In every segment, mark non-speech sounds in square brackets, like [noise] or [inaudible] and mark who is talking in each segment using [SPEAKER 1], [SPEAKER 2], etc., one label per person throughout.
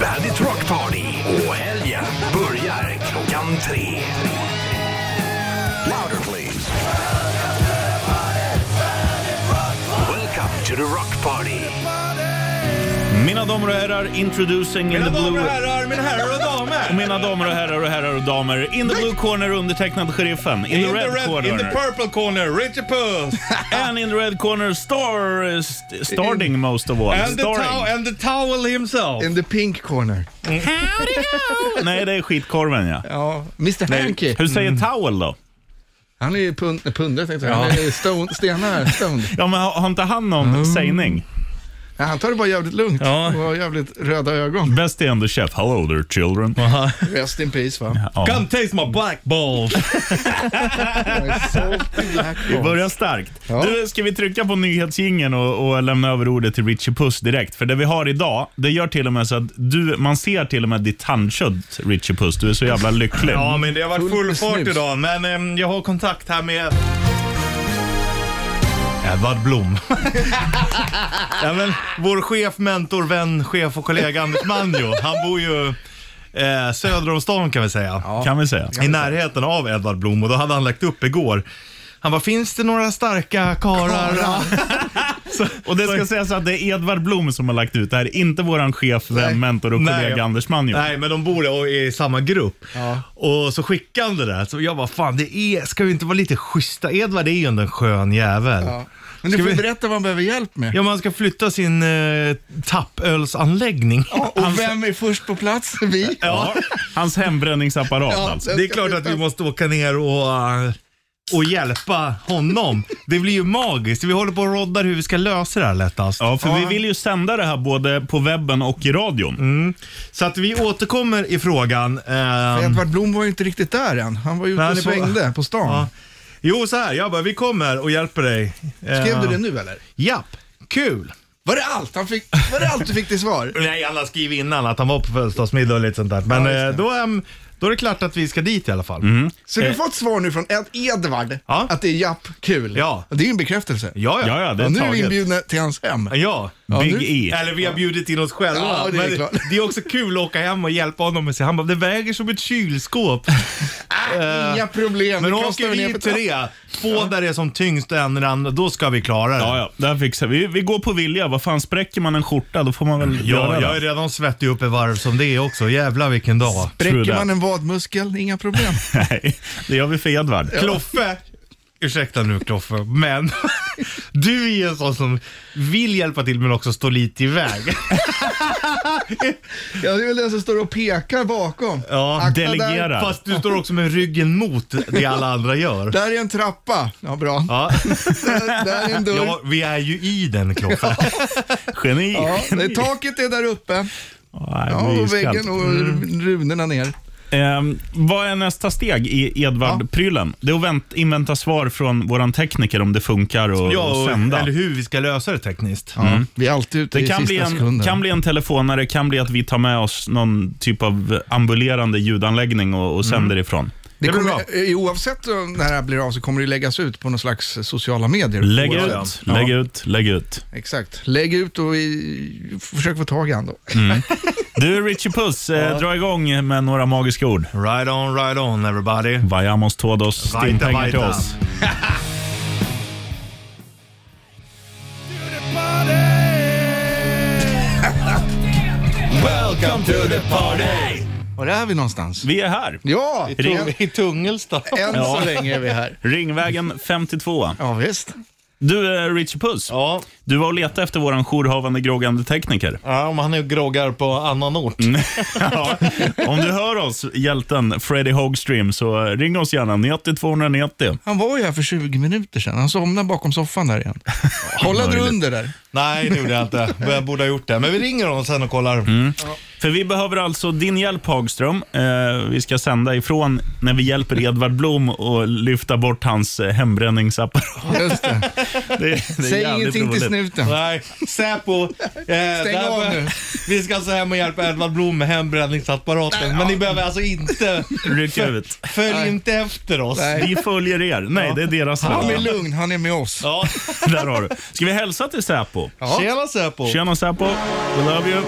[SPEAKER 1] Bandit Rock Party och helgen börjar klockan tre. Louder please. Welcome to the Rock Party.
[SPEAKER 2] Mina damer och herrar, introducing in the blue...
[SPEAKER 3] herrar, mina herrar och damer!
[SPEAKER 2] Och Mina damer och herrar och herrar och damer, in the blue corner undertecknad sheriffen. In the red
[SPEAKER 3] in the
[SPEAKER 2] corner.
[SPEAKER 3] purple corner, Richard Puss!
[SPEAKER 2] [laughs] And in the red corner, star... eh, St- starting most of all.
[SPEAKER 3] And the,
[SPEAKER 2] Starring.
[SPEAKER 3] tow- and the towel himself!
[SPEAKER 4] In the pink corner.
[SPEAKER 2] [laughs] Nej, det är skitkorven ja. Mm.
[SPEAKER 4] Ja, Mr Hanky.
[SPEAKER 2] Hur säger towel då?
[SPEAKER 4] Han är ju pund, nej, pundare tänkte jag. Han är stone, stenar, stoned.
[SPEAKER 2] Ja, men har, har inte han någon sägning?
[SPEAKER 4] Ja, han tar det bara jävligt lugnt
[SPEAKER 3] Ja.
[SPEAKER 4] och har jävligt röda ögon.
[SPEAKER 2] Best är ändå chef. Hello there children. [laughs]
[SPEAKER 4] Rest in peace va.
[SPEAKER 2] Ja.
[SPEAKER 3] Come taste my black balls!
[SPEAKER 4] Jag är salt i black
[SPEAKER 2] Vi
[SPEAKER 4] hole.
[SPEAKER 2] börjar starkt.
[SPEAKER 4] Ja.
[SPEAKER 2] Du, ska vi trycka på nyhetsjingeln och, och lämna över ordet till Richie Puss direkt? För det vi har idag, det gör till och med så att du, man ser till och med ditt tandkött, Richie Puss. Du är så jävla lycklig.
[SPEAKER 3] ja, men det har varit
[SPEAKER 4] Fullt
[SPEAKER 3] full
[SPEAKER 4] med
[SPEAKER 3] fart
[SPEAKER 4] snus.
[SPEAKER 3] idag, men em, jag har kontakt här med... Edvard Blom. [laughs] ja, men, vår chef, mentor, vän, chef och kollega Anders Manjo, han bor ju eh, söder om stan kan vi säga.
[SPEAKER 2] Kan vi säga.
[SPEAKER 3] i närheten av Edvard Blom och då hade han lagt upp igår. Han bara, finns det några starka karlar?
[SPEAKER 2] Och det ska sägas att det är Edvard Blom som har lagt ut det här, inte våran chef, vän, mentor och kollega
[SPEAKER 3] Nej.
[SPEAKER 2] Anders Manjo.
[SPEAKER 3] [laughs] Nej, men de bor i i samma grupp. Och så skickade han det där, så jag bara, fan det är, ska vi inte vara lite schyssta? Edvard är ju ändå en skön jävel.
[SPEAKER 4] Ja. Men du
[SPEAKER 3] Ska
[SPEAKER 4] får
[SPEAKER 3] vi-
[SPEAKER 4] berätta vad han behöver hjälp med.
[SPEAKER 3] Ja, man ska flytta sin eh, tappölsanläggning.
[SPEAKER 4] Ja, Och vem är först på plats? Vi?
[SPEAKER 2] Ja. Hans hembränningsapparat
[SPEAKER 4] Ja,
[SPEAKER 2] alltså.
[SPEAKER 4] den
[SPEAKER 3] Det är
[SPEAKER 4] ska
[SPEAKER 3] klart att
[SPEAKER 4] flyttas.
[SPEAKER 3] vi måste åka ner och, eh, och hjälpa honom. Det blir ju magiskt. Vi håller på och roddar hur vi ska lösa det här lättast.
[SPEAKER 2] Ja, för vi vill ju sända det här både på webben och i radion.
[SPEAKER 3] Så att vi återkommer i frågan. ehm,
[SPEAKER 4] Edvard Blom var ju inte riktigt där än. Han var ju ute
[SPEAKER 3] Nej,
[SPEAKER 4] och
[SPEAKER 3] det var-
[SPEAKER 4] svängde på stan.
[SPEAKER 3] ja. Jo, så här. Jag bara, vi kommer och hjälper dig.
[SPEAKER 4] Skrev
[SPEAKER 3] Eh,
[SPEAKER 4] du det nu eller?
[SPEAKER 3] Japp. Kul.
[SPEAKER 4] Var det allt? Han fick, var det allt du fick till svar?
[SPEAKER 3] Nej, han har skrivit innan att han var på födelsedagsmiddag och lite sånt där. Men
[SPEAKER 4] Ja, just det. Mm.
[SPEAKER 3] eh, då, ehm, då är det klart att vi ska dit i alla fall.
[SPEAKER 4] Så du har fått svar nu från Ed- Edvard
[SPEAKER 3] Ja.
[SPEAKER 4] att det är japp, kul.
[SPEAKER 3] Ja.
[SPEAKER 4] Och Det är ju en bekräftelse.
[SPEAKER 3] Ja, ja.
[SPEAKER 2] Ja, ja, det
[SPEAKER 4] och
[SPEAKER 2] är
[SPEAKER 4] nu är vi
[SPEAKER 2] taget.
[SPEAKER 4] inbjudna till hans hem.
[SPEAKER 3] Ja. Mm.
[SPEAKER 4] Ja,
[SPEAKER 2] Big
[SPEAKER 4] nu-
[SPEAKER 2] E.
[SPEAKER 3] Eller vi har bjudit in oss själva.
[SPEAKER 4] Ja, det är
[SPEAKER 3] men
[SPEAKER 4] klart.
[SPEAKER 3] det är också kul att åka hem och hjälpa honom med sig. Han bara, det väger som ett kylskåp.
[SPEAKER 2] Eh,
[SPEAKER 4] Ah, Inga problem.
[SPEAKER 3] Men
[SPEAKER 4] Vi kastar
[SPEAKER 3] åker
[SPEAKER 4] väl ner
[SPEAKER 3] vi
[SPEAKER 4] på
[SPEAKER 3] tre, två där det är som tyngst och en där andra, då ska vi klara det.
[SPEAKER 2] Ja, ja, det här fixar vi. Vi går på vilja. Vad fan, spräcker man en skjorta då får man väl
[SPEAKER 3] Ja,
[SPEAKER 2] göra
[SPEAKER 3] jag är
[SPEAKER 2] det. [laughs]
[SPEAKER 3] redan svettig upp i varv som det är också. Jävlar vilken dag.
[SPEAKER 2] True
[SPEAKER 4] Bräcker
[SPEAKER 2] that.
[SPEAKER 4] man en vadmuskel, inga problem.
[SPEAKER 2] Nej, det gör vi för Edvard.
[SPEAKER 3] Kloffe, ursäkta nu Kloffe, men [laughs] du är ju en sån som vill hjälpa till men också står lite i väg.
[SPEAKER 4] Ja, det är väl den som står och pekar bakom.
[SPEAKER 3] Ja,
[SPEAKER 4] Akta
[SPEAKER 2] delegera.
[SPEAKER 4] Där,
[SPEAKER 3] Fast du står också med ryggen mot det alla
[SPEAKER 4] [laughs]
[SPEAKER 3] andra gör.
[SPEAKER 4] där är en trappa. Ja, bra.
[SPEAKER 3] Ja.
[SPEAKER 4] [laughs] Där, där är en dörr.
[SPEAKER 3] ja, vi är ju i
[SPEAKER 4] [laughs]
[SPEAKER 3] den Kloffe.
[SPEAKER 2] Geni.
[SPEAKER 4] Ja, det, taket är där uppe.
[SPEAKER 2] Nej, det
[SPEAKER 4] Ja,
[SPEAKER 2] blir
[SPEAKER 4] och
[SPEAKER 2] iskallt.
[SPEAKER 4] väggen och
[SPEAKER 2] Mm.
[SPEAKER 4] runorna ner.
[SPEAKER 2] Ehm, vad är nästa steg i Edvard-prylen? Det är att vänt, invänta svar från våran tekniker om det funkar och,
[SPEAKER 3] Ja,
[SPEAKER 2] och
[SPEAKER 3] och-
[SPEAKER 2] sända.
[SPEAKER 3] eller hur vi ska lösa det tekniskt.
[SPEAKER 4] Ja, Vi är alltid ute
[SPEAKER 2] Mm. Det
[SPEAKER 4] i
[SPEAKER 2] kan
[SPEAKER 4] sista
[SPEAKER 2] bli, en,
[SPEAKER 4] sekunden.
[SPEAKER 2] kan bli en telefonare, kan bli att vi tar med oss någon typ av ambulerande ljudanläggning och, och
[SPEAKER 4] Mm.
[SPEAKER 2] sänder ifrån.
[SPEAKER 4] Det
[SPEAKER 3] Det blir
[SPEAKER 4] kommer, eh, oavsett om när det här blir av så kommer det läggas ut på någon slags sociala medier.
[SPEAKER 2] Lägg
[SPEAKER 4] Oavsett.
[SPEAKER 2] ut, lägg ut, lägg ut.
[SPEAKER 4] Exakt. Lägg ut och vi försök få tag i han då.
[SPEAKER 2] Mm. Du, Richie Puss, eh, dra igång med några magiska ord.
[SPEAKER 3] Right on, right on everybody.
[SPEAKER 2] Vayamos todos,
[SPEAKER 3] Vajta,
[SPEAKER 2] stimpengar till
[SPEAKER 3] vajta.
[SPEAKER 2] oss.
[SPEAKER 3] Welcome to the party!
[SPEAKER 4] Var är vi någonstans?
[SPEAKER 2] Vi är här.
[SPEAKER 4] Ja,
[SPEAKER 2] Ring-
[SPEAKER 3] I [laughs] Tungelsta.
[SPEAKER 4] än
[SPEAKER 2] Ja.
[SPEAKER 4] så länge är vi här.
[SPEAKER 3] [laughs]
[SPEAKER 2] Ringvägen 52.
[SPEAKER 4] Ja, visst.
[SPEAKER 2] Du, eh, Richie Puss,
[SPEAKER 3] Ja,
[SPEAKER 2] du var och letade efter våran jourhavande groggande tekniker.
[SPEAKER 3] ja, om han nu groggar på annan ort.
[SPEAKER 2] Ja. [laughs] Om du hör oss, hjälten Freddie Hogstream, så ring oss gärna. 90 290.
[SPEAKER 4] Han var ju här för 20 minuter sedan. Han somnade bakom soffan där igen. Kollade du
[SPEAKER 2] möjligt.
[SPEAKER 4] under där?
[SPEAKER 3] Nej, det gjorde jag inte. [laughs] Men Jag borde ha gjort det. Men vi ringer honom sen och kollar.
[SPEAKER 2] För vi behöver alltså din hjälp Hagström. Eh, vi ska sända ifrån när vi hjälper Edvard Blom och lyfta bort hans eh, hembränningsapparat.
[SPEAKER 4] Just det.
[SPEAKER 2] Det, det är
[SPEAKER 4] Säg
[SPEAKER 2] jävligt
[SPEAKER 4] ingenting till
[SPEAKER 2] roligt.
[SPEAKER 4] snuten.
[SPEAKER 3] Nej, Säpo. Eh, Stäng
[SPEAKER 4] av nu.
[SPEAKER 3] Vi ska alltså hem och hjälpa Edvard Blom med hembränningsapparaten. Men ni behöver alltså inte...
[SPEAKER 2] Rycka ut.
[SPEAKER 3] Följ inte efter oss.
[SPEAKER 4] Nej.
[SPEAKER 2] Vi följer er. Nej, det är deras
[SPEAKER 4] Han är
[SPEAKER 2] låt.
[SPEAKER 4] lugn, han är med oss.
[SPEAKER 3] Ja.
[SPEAKER 2] Där har du. Ska vi hälsa till Säpo?
[SPEAKER 4] Ja.
[SPEAKER 3] Tjena Säpo.
[SPEAKER 2] Tjena Säpo, we love you.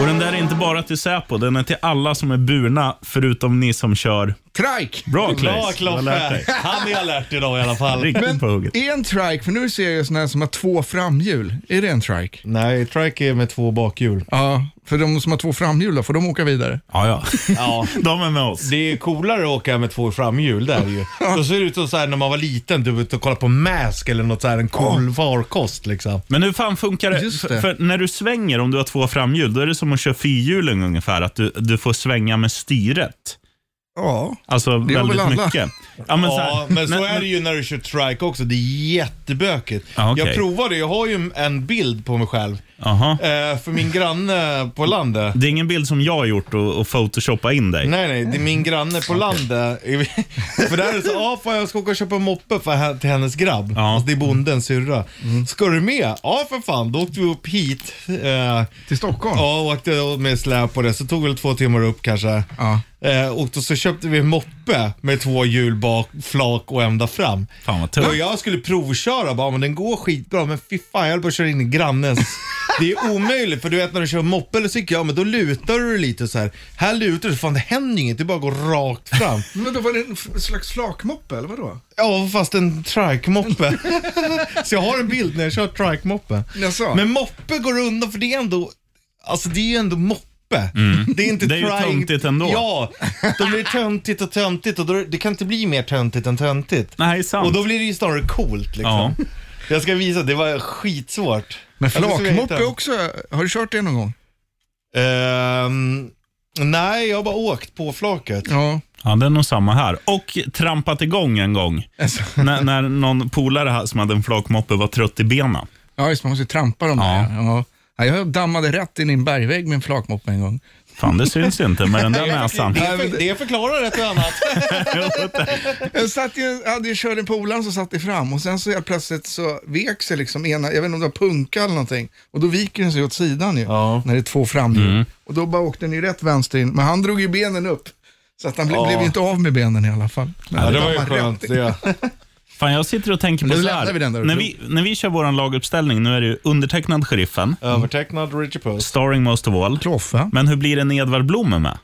[SPEAKER 2] Och den där är inte bara till Säpo, den är till alla som är burna, förutom ni som kör.
[SPEAKER 4] Trike!
[SPEAKER 2] Bra
[SPEAKER 3] Bra
[SPEAKER 2] Claes, du har lärt
[SPEAKER 3] Kloffe!
[SPEAKER 2] dig.
[SPEAKER 3] Han är alert idag i alla fall.
[SPEAKER 2] Riktigt på hugget.
[SPEAKER 4] Är en trike, för nu ser jag sådana här som har två framhjul, är det en trike?
[SPEAKER 3] Nej, trike är med två bakhjul.
[SPEAKER 4] Ja, för de som har två framhjul då, får de åka vidare?
[SPEAKER 2] Ja, ja.
[SPEAKER 3] Ja.
[SPEAKER 2] [laughs] De är med oss.
[SPEAKER 3] Det är ju coolare att åka med två framhjul, det är det ju. Då ser det ut som så här när man var liten, du var ute och kollade på Mask eller något så här, en cool farkost liksom.
[SPEAKER 2] Men hur fan funkar det?
[SPEAKER 4] Just det.
[SPEAKER 2] För, för när du svänger, om du har två framhjul, då är det som att köra fyrhjuling ungefär, att du, du får svänga med styret.
[SPEAKER 4] Ja.
[SPEAKER 2] Alltså
[SPEAKER 4] väl
[SPEAKER 2] väldigt
[SPEAKER 4] alla.
[SPEAKER 2] mycket. Ja, men, så här-
[SPEAKER 3] Ja, men så är det ju när du kör trike också. Det är jättebökigt.
[SPEAKER 2] Ja, okej.
[SPEAKER 3] Jag provade, jag har ju en bild på mig själv.
[SPEAKER 2] Aha.
[SPEAKER 3] Eh, för min granne på landet.
[SPEAKER 2] Det är ingen bild som jag har gjort och, och photoshoppa in dig.
[SPEAKER 3] Nej, nej, det är min granne på landet. [laughs] för där är det så, ja fan jag ska åka och köpa en moppe för, he- till hennes grabb.
[SPEAKER 2] Ja. Mm.
[SPEAKER 3] Alltså, det är bondens syrra. Ska du med? Ja för fan, då åkte vi upp hit. Eh,
[SPEAKER 4] Till Stockholm?
[SPEAKER 3] Ja, och åkte med släp på det. Så tog väl två timmar upp kanske.
[SPEAKER 4] Ja.
[SPEAKER 3] Eh, och då så köpte vi en moppe med två hjul bak, flak och ända fram.
[SPEAKER 2] Fan vad
[SPEAKER 3] Och
[SPEAKER 2] tufft.
[SPEAKER 3] jag skulle provköra bara, men den går skitbra. Men fy fan, jag höll på att köra in i grannens. Det är omöjligt, för du vet när du kör moppe eller cykel, ja men då lutar du lite så här. Här lutar du, fan det händer inget, det bara går rakt fram.
[SPEAKER 4] Men då var det en f- slags flakmoppe eller vadå?
[SPEAKER 3] Ja, fast en trike-moppe. så jag har en bild när jag kör trike-moppe.
[SPEAKER 4] Jaså?
[SPEAKER 3] Men moppe går undan för det är ändå, alltså det är ju ändå moppe. Det är inte
[SPEAKER 2] Mm. Det är ju
[SPEAKER 3] trike-
[SPEAKER 2] töntigt ändå.
[SPEAKER 3] Ja, då blir det töntigt och töntigt och då, det kan inte bli mer töntigt än töntigt.
[SPEAKER 2] Nej,
[SPEAKER 3] Och
[SPEAKER 2] sant.
[SPEAKER 3] då blir det ju snarare coolt liksom. Jag ska visa, det var skitsvårt.
[SPEAKER 4] Men
[SPEAKER 3] Jag ska se om jag hittar
[SPEAKER 4] flakmoppe
[SPEAKER 3] den.
[SPEAKER 4] också, har du kört det någon gång?
[SPEAKER 3] Ehm, nej, jag har bara åkt på flaket.
[SPEAKER 4] Ja.
[SPEAKER 2] Ja, det är nog samma här. Och trampat igång en gång.
[SPEAKER 4] Alltså,
[SPEAKER 2] när, när någon polare här som hade en flakmoppe var trött i benen.
[SPEAKER 4] ja just man måste ju trampa dem där.
[SPEAKER 2] Ja.
[SPEAKER 4] Ja. Ja, jag dammade rätt in i en bergvägg med en flakmoppe en gång.
[SPEAKER 2] Fan, det syns inte med den där näsan.
[SPEAKER 3] Det, för, det förklarar ett och [laughs] annat.
[SPEAKER 4] Jag satt ju, hade ju körde polaren som satt i fram och sen så helt plötsligt så vek sig liksom ena, jag vet inte om det var punka eller någonting, och då viker den sig åt sidan ju,
[SPEAKER 3] Ja. Mm.
[SPEAKER 4] när det är två framhjul. Och då bara åkte den ju rätt vänster in, men han drog ju benen upp. Så att han ble,
[SPEAKER 3] Ja.
[SPEAKER 4] blev ju inte av med benen i alla fall. Men
[SPEAKER 3] Ja, det var ju
[SPEAKER 4] dammade rätt
[SPEAKER 3] skönt.
[SPEAKER 4] in.
[SPEAKER 3] Det.
[SPEAKER 2] [laughs] Fan, jag sitter och tänker på
[SPEAKER 4] Men nu
[SPEAKER 2] så
[SPEAKER 4] lämnar
[SPEAKER 2] här.
[SPEAKER 4] vi den där.
[SPEAKER 2] när, vi, när vi kör vår laguppställning, nu är det ju undertecknad sheriffen,
[SPEAKER 3] Övertecknad Richie Puss.
[SPEAKER 2] starring most of all.
[SPEAKER 4] Kloffe.
[SPEAKER 2] Men hur blir det när Edvard Blom är med?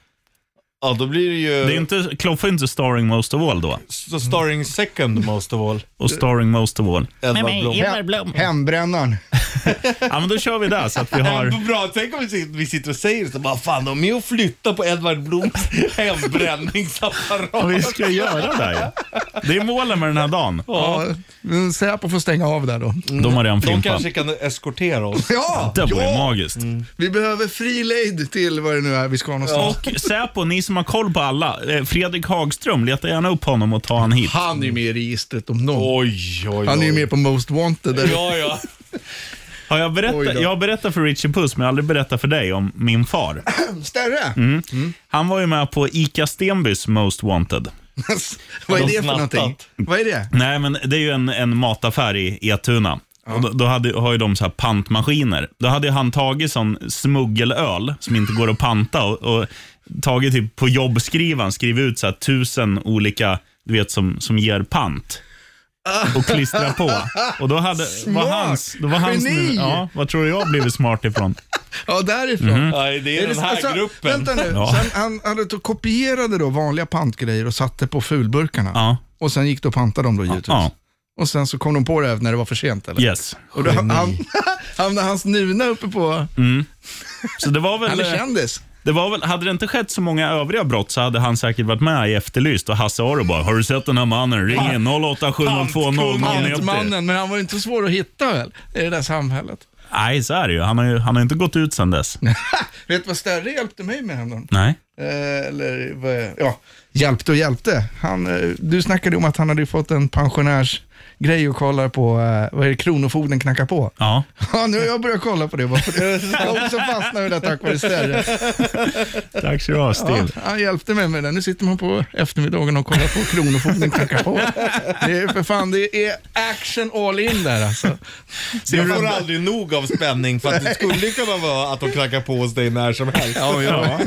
[SPEAKER 3] Ja, då blir det ju
[SPEAKER 2] Det är inte, Kloffe är inte starring most of all då.
[SPEAKER 3] så starring second most of all.
[SPEAKER 2] Och starring most of all.
[SPEAKER 3] Edvard Blom.
[SPEAKER 2] Blom.
[SPEAKER 4] Hembrännaren.
[SPEAKER 2] Ja, men då kör vi där så att vi har...
[SPEAKER 3] [laughs] Har... Bra, tänk om vi sitter- vi sitter och säger så bara fan de är med och flyttar på Edvard Bloms [laughs] hembränningsapparat.
[SPEAKER 2] Vi ska göra det. ju. Det är målen med den här dagen.
[SPEAKER 4] Ja, men Säpo får stänga av där då.
[SPEAKER 2] De har redan
[SPEAKER 3] De
[SPEAKER 2] fimpat.
[SPEAKER 3] kanske kan eskortera oss.
[SPEAKER 4] Ja,
[SPEAKER 2] Det vore
[SPEAKER 4] ja. Mm.
[SPEAKER 2] magiskt.
[SPEAKER 4] vi behöver fri lejd till vad det nu är vi ska någonstans.
[SPEAKER 2] Och Säpo, ni som har koll på alla. eh, Fredrik Hagström, leta gärna upp honom och ta han hit.
[SPEAKER 4] Han är ju med i registret om någon.
[SPEAKER 3] Oj, oj, oj.
[SPEAKER 4] Han är ju med på Most Wanted. Där.
[SPEAKER 3] Ja, ja.
[SPEAKER 2] Har jag,
[SPEAKER 4] Oj
[SPEAKER 2] berättat,
[SPEAKER 4] då.
[SPEAKER 2] jag har berättat för Richie Puss, men jag har aldrig berättat för dig om min far.
[SPEAKER 4] Stärre?
[SPEAKER 3] Mm.
[SPEAKER 2] Han var ju med på ICA Stenbys Most Wanted.
[SPEAKER 4] [laughs] Vad är det
[SPEAKER 3] De
[SPEAKER 4] för
[SPEAKER 3] snattat.
[SPEAKER 4] någonting? Vad är det?
[SPEAKER 2] Nej, men det är ju en, en mataffär i Etuna. Och då, då hade, har ju de så här pantmaskiner. Då hade ju han tagit sån smuggelöl som inte går att panta och, och tagit typ på jobbskrivan, skrivit ut så här tusen olika, du vet, som, som ger pant. Och klistra på. Och
[SPEAKER 4] [laughs]
[SPEAKER 2] då hade, var
[SPEAKER 4] Smart!
[SPEAKER 2] hans, då var hans
[SPEAKER 4] Geni!
[SPEAKER 2] ja, vad tror du jag har blivit
[SPEAKER 4] [laughs]
[SPEAKER 2] smart ifrån?
[SPEAKER 4] Ja, därifrån.
[SPEAKER 3] Nej, det är, den här
[SPEAKER 4] alltså,
[SPEAKER 3] gruppen.
[SPEAKER 4] Vänta nu.
[SPEAKER 2] Mhm. Ja.
[SPEAKER 4] Sen han, han hade- kopierade då vanliga pantgrejer och satte på fulburkarna.
[SPEAKER 2] Ja.
[SPEAKER 4] Och sen gick det och pantade dem då givetvis.
[SPEAKER 2] Ja,
[SPEAKER 4] Och sen så kom de på det när det var för sent eller?
[SPEAKER 2] yes.
[SPEAKER 4] Och då ham- [laughs] hamnade hans nuna uppe på...
[SPEAKER 2] Mm. Så det var väl...
[SPEAKER 4] Han
[SPEAKER 2] eh,
[SPEAKER 4] är kändis.
[SPEAKER 2] Det var väl, hade det inte skett så många övriga brott så hade han säkert varit med i Efterlyst och Hasse Aro bara “Har du sett den här mannen? Ring in 0870209090.
[SPEAKER 4] Pantmannen, men han var ju inte svår att hitta väl? I det där samhället.
[SPEAKER 2] Nej, så är det ju. Han har ju han har inte gått ut sedan dess.
[SPEAKER 4] Vet du vad Sterre hjälpte mig med häromdagen?
[SPEAKER 2] Nej.
[SPEAKER 4] Eh, eller vad, ja, hjälpte och hjälpte. Han, eh, du snackade om att han hade fått en pensionärsgrej och kollar på, eh, vad är det, Kronofogden knackar på.
[SPEAKER 2] Ja.
[SPEAKER 4] Ja, nu har jag börjat kolla på det bara för det. Jag också fastnade i det tack vare Sterre.
[SPEAKER 2] Tack så du ha,
[SPEAKER 4] Ja,
[SPEAKER 2] Steve.
[SPEAKER 4] han hjälpte mig med det. Nu sitter man på eftermiddagen och kollar på Kronofogden knackar på. Det är för fan, det är action all in där alltså.
[SPEAKER 3] Jag får aldrig nog av spänning för att det skulle kunna vara att de knackar på hos dig när som helst.
[SPEAKER 4] Ja, ja.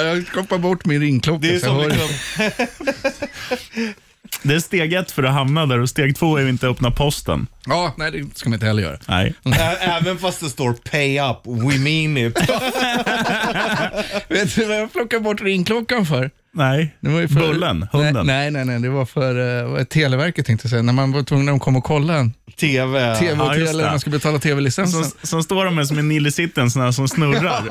[SPEAKER 4] Jag koppar bort min ringklocka.
[SPEAKER 3] Det är liksom-
[SPEAKER 4] så jag
[SPEAKER 3] som
[SPEAKER 4] hör-
[SPEAKER 3] liksom,
[SPEAKER 2] Det är steg ett för att hamna där och steg två är att inte öppna posten.
[SPEAKER 4] Ja, nej det ska man inte heller göra.
[SPEAKER 2] Nej.
[SPEAKER 3] Ä- Även fast det står pay up, we
[SPEAKER 4] [laughs]
[SPEAKER 3] mean it.
[SPEAKER 4] Vet du vad jag plockade bort ringklockan för?
[SPEAKER 2] Nej.
[SPEAKER 4] Det var ju för
[SPEAKER 2] Bullen, hunden.
[SPEAKER 4] Nej, nej, nej, det var för eh, Televerket tänkte jag säga. När man var tvungen att komma och kolla en.
[SPEAKER 3] TV.
[SPEAKER 4] TV och
[SPEAKER 2] Ja, just
[SPEAKER 4] tele,
[SPEAKER 2] det. Alltså,
[SPEAKER 4] man ska betala tv-licensen.
[SPEAKER 2] Som, som står de med som en nillesitten, sån här
[SPEAKER 4] [laughs]
[SPEAKER 2] som snurrar.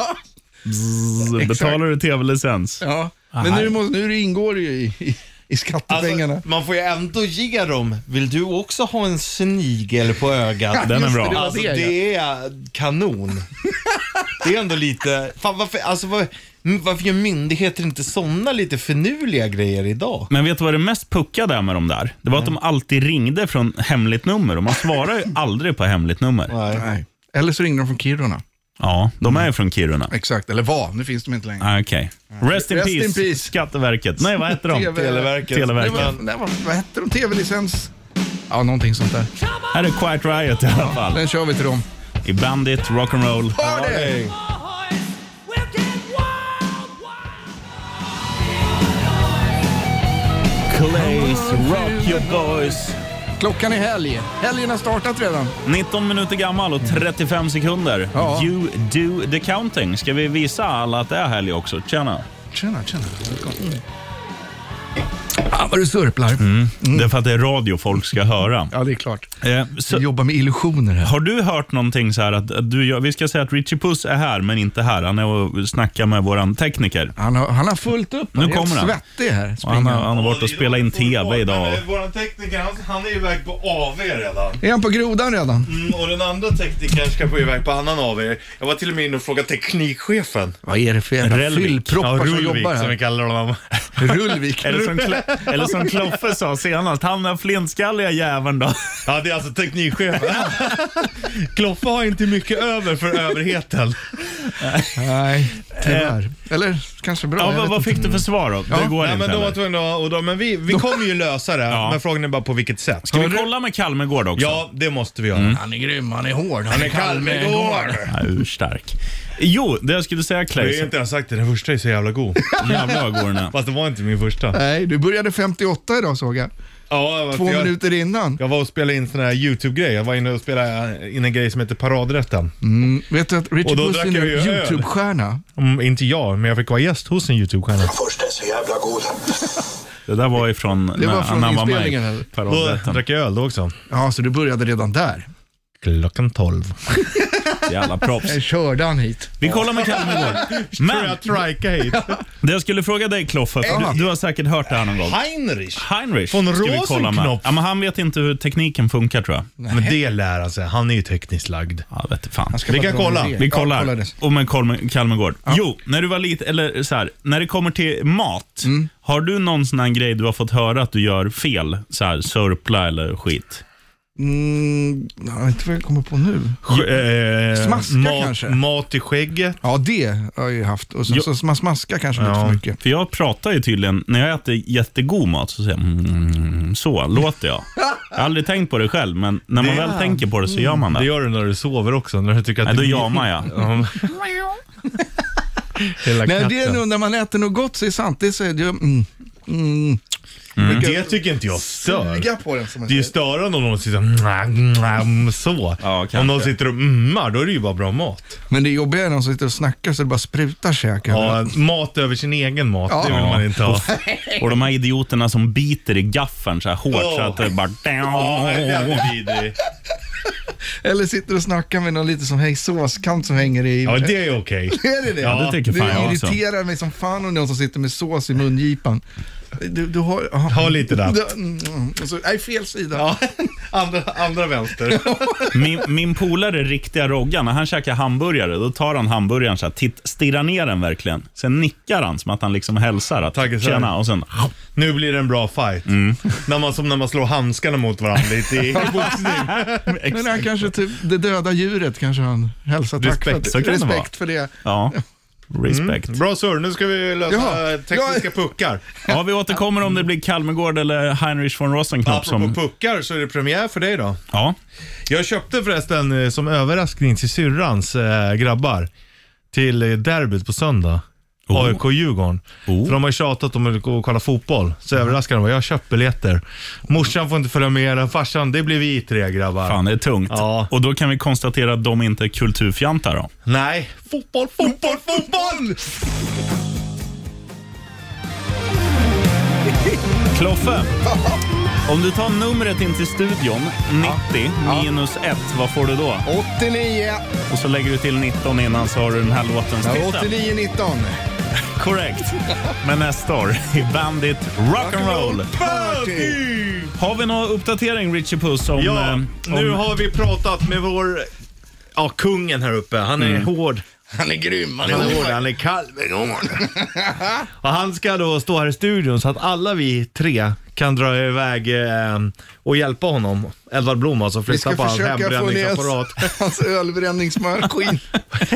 [SPEAKER 2] Bzzz, betalar du tv-licens?
[SPEAKER 4] Ja. Men nu, måste, nu ingår det ju i, i, i skattepengarna.
[SPEAKER 3] Alltså, man får ju ändå ge dem. Vill du också ha en snigel på ögat?
[SPEAKER 2] Den är
[SPEAKER 4] Just det,
[SPEAKER 2] bra.
[SPEAKER 4] det var
[SPEAKER 3] Alltså
[SPEAKER 4] det, ja.
[SPEAKER 3] det är kanon. Det är ändå lite, fan varför, alltså, var, m- varför gör myndigheter inte sådana lite finurliga grejer idag?
[SPEAKER 2] Men vet du vad det mest puckade är med de där? Det var att de alltid ringde från hemligt nummer och man
[SPEAKER 4] [laughs]
[SPEAKER 2] svarar ju aldrig på hemligt nummer.
[SPEAKER 3] Nej.
[SPEAKER 4] Nej. Eller så ringde de från Kiruna.
[SPEAKER 2] Ja, de är ju från Kiruna.
[SPEAKER 4] Exakt, eller var. Nu finns de inte längre.
[SPEAKER 2] Ah, Okej. Rest, in,
[SPEAKER 4] Rest
[SPEAKER 2] peace,
[SPEAKER 4] in peace.
[SPEAKER 2] Skatteverket. Nej, vad
[SPEAKER 4] [laughs]
[SPEAKER 2] heter de?
[SPEAKER 4] TV.
[SPEAKER 3] Televerket.
[SPEAKER 2] Televerket.
[SPEAKER 4] Det var, det var, vad hette de? TV-licens? Ja, någonting sånt där.
[SPEAKER 2] Här är Quiet Riot i alla fall.
[SPEAKER 4] Den kör vi till dem.
[SPEAKER 2] I Bandit, Rock'n'Roll.
[SPEAKER 4] Har det!
[SPEAKER 3] Nej.
[SPEAKER 2] Clays, Rock Your Boys.
[SPEAKER 4] Klockan är helg. Helgen har startat redan.
[SPEAKER 2] 19 minuter gammal och 35 sekunder.
[SPEAKER 4] Ja.
[SPEAKER 2] You do the counting. Ska vi visa alla att det är helg också? Tjena.
[SPEAKER 4] Tjena, tjena.
[SPEAKER 2] Mm.
[SPEAKER 4] Ah, vad du surplar.
[SPEAKER 2] Det är för att det är radio folk ska höra.
[SPEAKER 4] Mm. Ja, det är klart.
[SPEAKER 2] Eh,
[SPEAKER 4] Vi
[SPEAKER 2] så,
[SPEAKER 4] jobbar med illusioner här.
[SPEAKER 2] har du hört någonting så här att, att du, gör- vi ska säga att Richie Puss är här men inte här. Han är och snackar med våran tekniker.
[SPEAKER 4] Han har, han har fullt upp.
[SPEAKER 2] Nu
[SPEAKER 4] är helt
[SPEAKER 2] kommer han.
[SPEAKER 4] svettig här.
[SPEAKER 2] Och han,
[SPEAKER 4] springer
[SPEAKER 2] har,
[SPEAKER 4] han.
[SPEAKER 2] han har varit och spelat in TV idag.
[SPEAKER 3] Men, eh, Våran tekniker, han, han är iväg på AV redan.
[SPEAKER 4] Är han på grodan redan?
[SPEAKER 3] Mm, och den andra teknikern ska på iväg på annan AV. Jag var till och med inne och frågade teknikchefen.
[SPEAKER 4] Vad är det för jävla
[SPEAKER 2] Relvik.
[SPEAKER 4] fyllproppar
[SPEAKER 2] Ja,
[SPEAKER 4] som
[SPEAKER 2] Rullvik,
[SPEAKER 4] jobbar här?
[SPEAKER 2] [laughs]
[SPEAKER 3] kallar honom.
[SPEAKER 4] Rullvik.
[SPEAKER 2] Eller som, Kle- eller som Kloffe sa senast, han den flintskalliga jäveln då.
[SPEAKER 3] Ja, det är alltså [laughs] teknikchefen. Kloffe har inte mycket över för överheten.
[SPEAKER 4] Nej, tyvärr. Eller kanske bra.
[SPEAKER 2] Eh. Ja,
[SPEAKER 4] jag
[SPEAKER 2] vad,
[SPEAKER 4] vet
[SPEAKER 2] vad
[SPEAKER 4] inte.
[SPEAKER 2] fick du för svar då? det går
[SPEAKER 3] Nej,
[SPEAKER 2] inte
[SPEAKER 3] men, då var
[SPEAKER 2] heller.
[SPEAKER 3] jag tvungen att, och då, men vi, vi kommer ju lösa det,
[SPEAKER 2] Ja.
[SPEAKER 3] men frågan är bara på vilket sätt.
[SPEAKER 2] Ska vi kolla med Kalmegård också?
[SPEAKER 3] Ja, det måste vi göra.
[SPEAKER 4] Han är grym, han är hård, han är
[SPEAKER 3] Kalmegård!
[SPEAKER 2] Ja, urstark. Jo, det jag skulle säga
[SPEAKER 3] Jag har
[SPEAKER 2] Clay,
[SPEAKER 3] inte ens sagt det, den första är så jävla god.
[SPEAKER 2] jävlar vad god den är.
[SPEAKER 3] Fast det var inte min första.
[SPEAKER 4] Nej, du började 58 idag såg jag.
[SPEAKER 3] Ja, jag-
[SPEAKER 4] Två
[SPEAKER 3] jag,
[SPEAKER 4] minuter innan.
[SPEAKER 3] Jag var och spelade in sån här YouTube-grej. Jag var inne och spelade eh, in en grej som heter Paradrätten.
[SPEAKER 4] Mm, vet du att Richard
[SPEAKER 3] Och då
[SPEAKER 4] Puss är
[SPEAKER 3] drack jag
[SPEAKER 4] nu
[SPEAKER 3] ju öl.
[SPEAKER 4] YouTube-stjärna?
[SPEAKER 3] Mm, inte jag, men jag fick vara gäst hos en YouTube-stjärna.
[SPEAKER 1] Först är så jävla god.
[SPEAKER 2] Det där var ifrån när,
[SPEAKER 4] var från
[SPEAKER 2] när han var med
[SPEAKER 4] inspelningen,
[SPEAKER 2] i
[SPEAKER 4] eller?
[SPEAKER 3] Då
[SPEAKER 2] paradrätten.
[SPEAKER 3] drack jag öl då också.
[SPEAKER 4] Ja, så du började redan där.
[SPEAKER 3] Klockan 12.
[SPEAKER 2] Jävla proffs.
[SPEAKER 4] Jag körde han hit.
[SPEAKER 2] Vi kollar med Kalmegård.
[SPEAKER 3] [laughs] Tror
[SPEAKER 2] Men
[SPEAKER 3] jag trikade hit.
[SPEAKER 2] det jag skulle fråga dig Kloffe, för du, du har säkert hört det här någon gång.
[SPEAKER 3] Heinrich.
[SPEAKER 2] Heinrich
[SPEAKER 3] Von
[SPEAKER 2] ska vi kolla med.
[SPEAKER 3] Rosenknopf.
[SPEAKER 2] Ja, men han vet inte hur tekniken funkar tror jag.
[SPEAKER 3] Men det lär han sig. Han är ju tekniskt lagd.
[SPEAKER 2] Ja, vet du fan.
[SPEAKER 4] ska
[SPEAKER 3] Vi
[SPEAKER 4] bara
[SPEAKER 3] kan
[SPEAKER 4] dra en
[SPEAKER 3] kolla.
[SPEAKER 4] idé.
[SPEAKER 2] Vi
[SPEAKER 4] Ja,
[SPEAKER 2] kollar.
[SPEAKER 4] kolla det.
[SPEAKER 2] och med Kalm- Kalmegård. Jo, när du var liten, eller så här, när det kommer till mat,
[SPEAKER 4] Mm.
[SPEAKER 2] har du någon sån här grej du har fått höra att du gör fel? Så här, sörpla eller skit?
[SPEAKER 4] Mm, ja, inte vad jag kommer på nu.
[SPEAKER 3] Eh,
[SPEAKER 4] Smaska
[SPEAKER 3] mat,
[SPEAKER 4] kanske?
[SPEAKER 3] Mat i skägget.
[SPEAKER 4] Ja, det har jag ju haft. Och sen
[SPEAKER 2] Jo.
[SPEAKER 4] så man smaskar kanske lite
[SPEAKER 3] Ja.
[SPEAKER 4] för mycket.
[SPEAKER 2] För jag pratar ju tydligen, när jag äter jättegod mat så säger jag mm, så låter jag. Jag har aldrig tänkt på det själv, men när man väl tänker på det så gör man
[SPEAKER 3] Det
[SPEAKER 4] Mm.
[SPEAKER 2] det.
[SPEAKER 3] gör du när du sover också. När du tycker att
[SPEAKER 2] Nej, då
[SPEAKER 3] du...
[SPEAKER 2] jamar
[SPEAKER 4] [laughs]
[SPEAKER 2] jag.
[SPEAKER 3] [laughs] Ja. Hela
[SPEAKER 4] Nej,
[SPEAKER 3] katten.
[SPEAKER 4] det är nog när man äter något gott så är det sant. Det är så det, mm, mm.
[SPEAKER 3] det tycker inte jag stör.
[SPEAKER 4] Suga på den som man
[SPEAKER 3] Det är ju
[SPEAKER 4] säger.
[SPEAKER 3] störande om någon sitter mwah, mwah, mm, så.
[SPEAKER 2] Ja, kanske.
[SPEAKER 3] om någon sitter och mmar, då är det ju bara bra mat.
[SPEAKER 4] Men det jobbiga är när de sitter och snackar så det bara sprutar käk.
[SPEAKER 3] Ja, mat över sin egen mat, det vill
[SPEAKER 2] Ja.
[SPEAKER 3] man inte [laughs] ha.
[SPEAKER 2] Och de här idioterna som biter i gaffeln så här hårt så
[SPEAKER 3] Åh.
[SPEAKER 2] att det
[SPEAKER 3] [laughs]
[SPEAKER 2] bara...
[SPEAKER 3] Ja, den är vidrig.
[SPEAKER 4] Eller sitter och snackar med någon lite som häng, såskant som hänger i.
[SPEAKER 3] Ja, det är okej.
[SPEAKER 4] [laughs] Är det det?
[SPEAKER 3] Ja,
[SPEAKER 2] det tycker fan
[SPEAKER 4] det
[SPEAKER 2] jag också.
[SPEAKER 4] irriterar mig som fan om någon som sitter med sås i mungipan. Du, du har... ah.
[SPEAKER 3] Ha
[SPEAKER 4] [laughs]
[SPEAKER 3] lite där.
[SPEAKER 4] Du- mm, och så, nej, fel sida.
[SPEAKER 3] Ja, [laughs] andra, andra vänster.
[SPEAKER 4] [laughs]
[SPEAKER 2] Min, min polare, riktiga Roggan, när han käkar hamburgare, då tar han hamburgaren så här, titt, stirrar ner den verkligen. Sen nickar han som att han liksom hälsar. Att,
[SPEAKER 3] Tack, så här.
[SPEAKER 2] Tjena, och sen...
[SPEAKER 3] Nu blir det en bra fight.
[SPEAKER 4] Mm.
[SPEAKER 3] När man, som när man slår handskarna mot varandra
[SPEAKER 4] [laughs]
[SPEAKER 3] lite i, i boxning.
[SPEAKER 4] Men han kanske typ, det döda djuret kanske han hälsar tack för.
[SPEAKER 3] Respekt,
[SPEAKER 4] att-
[SPEAKER 2] så kan det
[SPEAKER 4] respekt
[SPEAKER 2] vara.
[SPEAKER 4] för det.
[SPEAKER 2] Ja, respect.
[SPEAKER 3] Mm, Bra surr, nu ska vi lösa
[SPEAKER 4] Jaha.
[SPEAKER 3] tekniska puckar.
[SPEAKER 2] Ja, vi återkommer om det blir Kalmegård eller Heinrich von Rosenknopf
[SPEAKER 3] Apropå
[SPEAKER 2] som...
[SPEAKER 3] puckar så är det premiär för dig då.
[SPEAKER 2] Ja.
[SPEAKER 3] Jag köpte förresten eh, som överraskning till syrrans eh, grabbar till eh, derbyt på söndag.
[SPEAKER 2] Oh.
[SPEAKER 3] AIK-Djurgården.
[SPEAKER 2] Oh. Mm.
[SPEAKER 3] För de har ju tjatat om att gå och kolla fotboll. Så överraskade de mig. Jag har köpt biljetter. Morsan får inte följa med. den. Farsan, det blir vi tre grabbar.
[SPEAKER 2] Fan, det är tungt.
[SPEAKER 3] Ja.
[SPEAKER 2] Och då kan vi konstatera att de inte är kulturfjantar då.
[SPEAKER 3] Nej. Fotboll, fotboll, fotboll! [laughs]
[SPEAKER 2] Kloffe, om du tar numret in till studion, 90 minus 1, vad får du då?
[SPEAKER 4] 89,
[SPEAKER 2] Och så lägger du till 19 innan så har du den här låtens
[SPEAKER 4] Ja,
[SPEAKER 2] titel.
[SPEAKER 4] 89, 19.
[SPEAKER 2] Korrekt. Men nästa år, i Bandit Rock'n'Roll.
[SPEAKER 4] Party.
[SPEAKER 2] Har vi någon uppdatering, Richie Puss, om... eh,
[SPEAKER 3] Ja,
[SPEAKER 2] om
[SPEAKER 3] nu har vi pratat med vår... Ja, kungen här uppe. Han är
[SPEAKER 2] Mm.
[SPEAKER 3] hård.
[SPEAKER 4] Han är grym. Han
[SPEAKER 3] Han är hård,
[SPEAKER 4] hård.
[SPEAKER 3] han är kall. Och han ska då stå här i studion så att alla vi tre kan dra iväg eh, och hjälpa honom. Edvard Blom alltså,
[SPEAKER 4] Vi
[SPEAKER 3] flytta
[SPEAKER 4] ska
[SPEAKER 3] på hans
[SPEAKER 4] försöka få
[SPEAKER 3] hembränningsapparat.
[SPEAKER 4] ner [laughs] hans ölbränningsmaskin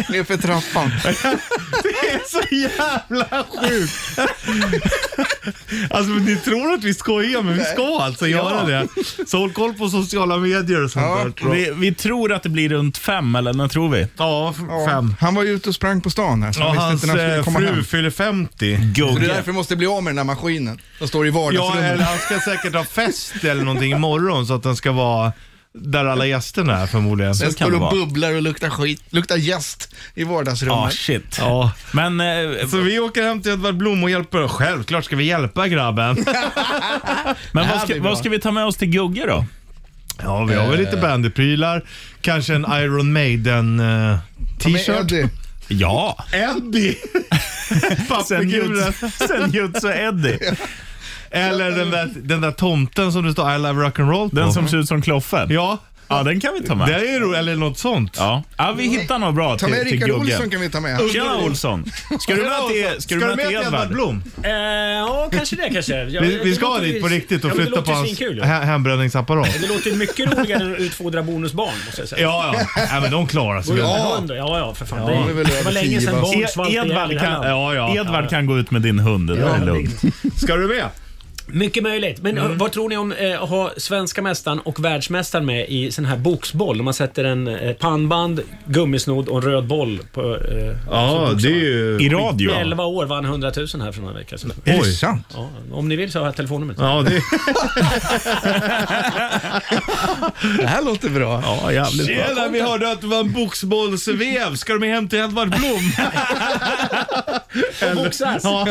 [SPEAKER 4] ner för trappan.
[SPEAKER 3] [laughs] Det är så jävla sjukt!
[SPEAKER 4] [laughs]
[SPEAKER 3] Alltså ni tror att vi skojar men vi ska alltså göra det. Så håll koll på sociala medier och sånt
[SPEAKER 4] Ja.
[SPEAKER 3] där. tror jag.
[SPEAKER 2] vi, vi tror att det blir runt fem, eller när tror vi?
[SPEAKER 3] Ja, f- fem.
[SPEAKER 4] Han var ju ute och sprang på stan här, så
[SPEAKER 3] Ja,
[SPEAKER 4] han
[SPEAKER 3] hans
[SPEAKER 4] visste inte när han
[SPEAKER 3] eh,
[SPEAKER 4] skulle komma
[SPEAKER 3] fru
[SPEAKER 4] hem. Mm.
[SPEAKER 3] fyller 50.
[SPEAKER 4] Så det är
[SPEAKER 2] Gugge.
[SPEAKER 4] därför vi måste bli av med den här maskinen. Den står i
[SPEAKER 3] Ja,
[SPEAKER 4] vardagsrummet.
[SPEAKER 3] eller han ska säkert ha fest eller någonting imorgon så att den ska vara där alla gästerna är förmodligen.
[SPEAKER 4] den står
[SPEAKER 2] kan det
[SPEAKER 4] och
[SPEAKER 2] vara.
[SPEAKER 4] bubblar och luktar skit. Luktar jäst i
[SPEAKER 2] Ah,
[SPEAKER 4] vardagsrummet.
[SPEAKER 2] shit.
[SPEAKER 3] Ja.
[SPEAKER 2] Men eh,
[SPEAKER 3] Så vi åker hem till Edvard Blom och hjälper. Självklart ska vi hjälpa grabben.
[SPEAKER 2] Men vad
[SPEAKER 4] här
[SPEAKER 2] ska,
[SPEAKER 4] blir bra.
[SPEAKER 2] vad ska vi ta med oss till Gugge då?
[SPEAKER 3] Ja, vi har väl lite bandyprylar. Kanske en Iron Maiden eh,
[SPEAKER 4] Men
[SPEAKER 3] t-shirt.
[SPEAKER 4] Eddie,
[SPEAKER 2] Ja,
[SPEAKER 3] Eddie!
[SPEAKER 2] sen
[SPEAKER 3] Pappfiguren.
[SPEAKER 2] Juts- sen Juts och Eddie.
[SPEAKER 3] Eller den där, den där tomten som det står I love rock'n'roll på.
[SPEAKER 2] Den som ser ut som Kloffen.
[SPEAKER 3] Ja,
[SPEAKER 2] Ja, den kan vi ta
[SPEAKER 3] det
[SPEAKER 2] med.
[SPEAKER 3] är roligt. Eller något sånt.
[SPEAKER 2] Ja. ja, vi hittar något bra
[SPEAKER 4] Ta
[SPEAKER 2] till,
[SPEAKER 4] med
[SPEAKER 2] till
[SPEAKER 4] Rickard
[SPEAKER 2] Gugge.
[SPEAKER 4] Olsson kan vi ta med.
[SPEAKER 2] Tjena Olsson! Ska du med till, ska du med till Edvard?
[SPEAKER 3] Blom?
[SPEAKER 5] Eh, ja, kanske det
[SPEAKER 3] [laughs]
[SPEAKER 5] kanske. Jag,
[SPEAKER 3] Vi, vi
[SPEAKER 5] det
[SPEAKER 3] ska
[SPEAKER 5] låter
[SPEAKER 3] dit på
[SPEAKER 5] ju-
[SPEAKER 3] riktigt och
[SPEAKER 5] ja, men
[SPEAKER 3] flytta på hans
[SPEAKER 5] Det låter ju svinkul.
[SPEAKER 3] hä- hembränningsapparat.
[SPEAKER 5] Det låter mycket roligare än att utfodra bonusbarn måste jag säga.
[SPEAKER 3] Ja, ja. Nej, men de klarar sig.
[SPEAKER 5] Går
[SPEAKER 3] väl.
[SPEAKER 5] ja. Hund, ja, ja, för fan. det,
[SPEAKER 4] det är
[SPEAKER 5] är,
[SPEAKER 4] väl
[SPEAKER 5] det var
[SPEAKER 4] över tio,
[SPEAKER 5] länge sedan
[SPEAKER 4] va?
[SPEAKER 5] barn svalt
[SPEAKER 2] E-
[SPEAKER 5] ihjäl i
[SPEAKER 2] Edvard
[SPEAKER 5] det här
[SPEAKER 2] kan,
[SPEAKER 5] landet.
[SPEAKER 2] ja, ja.
[SPEAKER 5] ja.
[SPEAKER 2] Edvard kan gå ut med din hund, det där är lugnt.
[SPEAKER 3] Ska du med?
[SPEAKER 5] Mycket möjligt. Men eh, vad tror ni om eh, att ha svenska mästaren och världsmästaren med i sån här boxboll? Om man sätter en eh, pannband, gummisnodd och en röd boll på... Eh, som
[SPEAKER 3] Ja,
[SPEAKER 5] boxarna.
[SPEAKER 3] det är ju...
[SPEAKER 2] I radio.
[SPEAKER 5] Med 11 år vann 100 000 här för några veckor sedan.
[SPEAKER 4] Är det
[SPEAKER 3] Oj.
[SPEAKER 4] sant?
[SPEAKER 5] Ja, om ni vill så har jag telefonnumret.
[SPEAKER 3] Ja, det
[SPEAKER 4] [laughs] Det här låter bra.
[SPEAKER 2] Ja, jävligt bra.
[SPEAKER 3] Tjena, vi hörde att det var en boxbollsvev. Ska du med hem till Edvard Blom?
[SPEAKER 5] Och boxas!
[SPEAKER 3] Ja.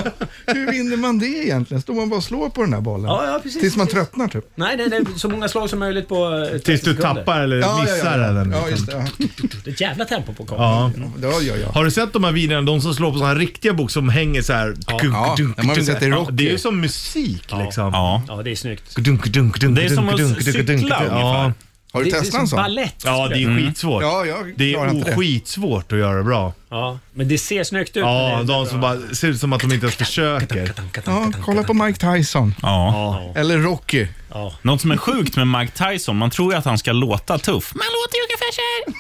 [SPEAKER 4] Hur vinner man det egentligen? Står man bara och slår på den här bollen?
[SPEAKER 5] Ja, ja, precis.
[SPEAKER 4] Tills man tröttnar typ.
[SPEAKER 5] Nej, nej, nej, så många slag som möjligt på eh, 30
[SPEAKER 3] [laughs] Tills du
[SPEAKER 5] sekunder.
[SPEAKER 3] tappar eller missar
[SPEAKER 4] ja,
[SPEAKER 3] den. Liksom.
[SPEAKER 4] ja, just det. Ja.
[SPEAKER 5] Det är ett jävla tempo på kameran.
[SPEAKER 3] Ja.
[SPEAKER 4] Ja, ja, ja.
[SPEAKER 3] Har du sett de här videorna, de som slår på såna här riktiga bok som hänger så här. Dunk,
[SPEAKER 4] Ja,
[SPEAKER 3] dunk,
[SPEAKER 4] de har vi
[SPEAKER 3] dunk.
[SPEAKER 4] sett i Rocky.
[SPEAKER 3] Det är ju som musik liksom.
[SPEAKER 2] Ja.
[SPEAKER 5] Ja, det är snyggt.
[SPEAKER 3] Dunk, dunk, dunk,
[SPEAKER 2] Det är som att
[SPEAKER 3] dunk, dunk,
[SPEAKER 2] cykla
[SPEAKER 3] dunk, dunk.
[SPEAKER 2] ungefär.
[SPEAKER 3] Ja.
[SPEAKER 4] Har du
[SPEAKER 5] det, det är
[SPEAKER 4] testat en
[SPEAKER 5] som
[SPEAKER 4] sån?
[SPEAKER 5] balett.
[SPEAKER 3] ja, det är skitsvårt.
[SPEAKER 4] Ja, jag
[SPEAKER 3] Det
[SPEAKER 4] klarar
[SPEAKER 3] är
[SPEAKER 4] inte det.
[SPEAKER 3] skitsvårt att göra det bra.
[SPEAKER 5] Ja, men det ser snyggt ut.
[SPEAKER 3] Ja,
[SPEAKER 5] men det-
[SPEAKER 3] de som bara ser ut som att de inte ens försöker.
[SPEAKER 4] Ja, kolla på Mike Tyson.
[SPEAKER 2] Ja.
[SPEAKER 4] Eller Rocky.
[SPEAKER 5] Ja.
[SPEAKER 2] Något som är sjukt med Mike Tyson, man tror ju att han ska låta tuff. Men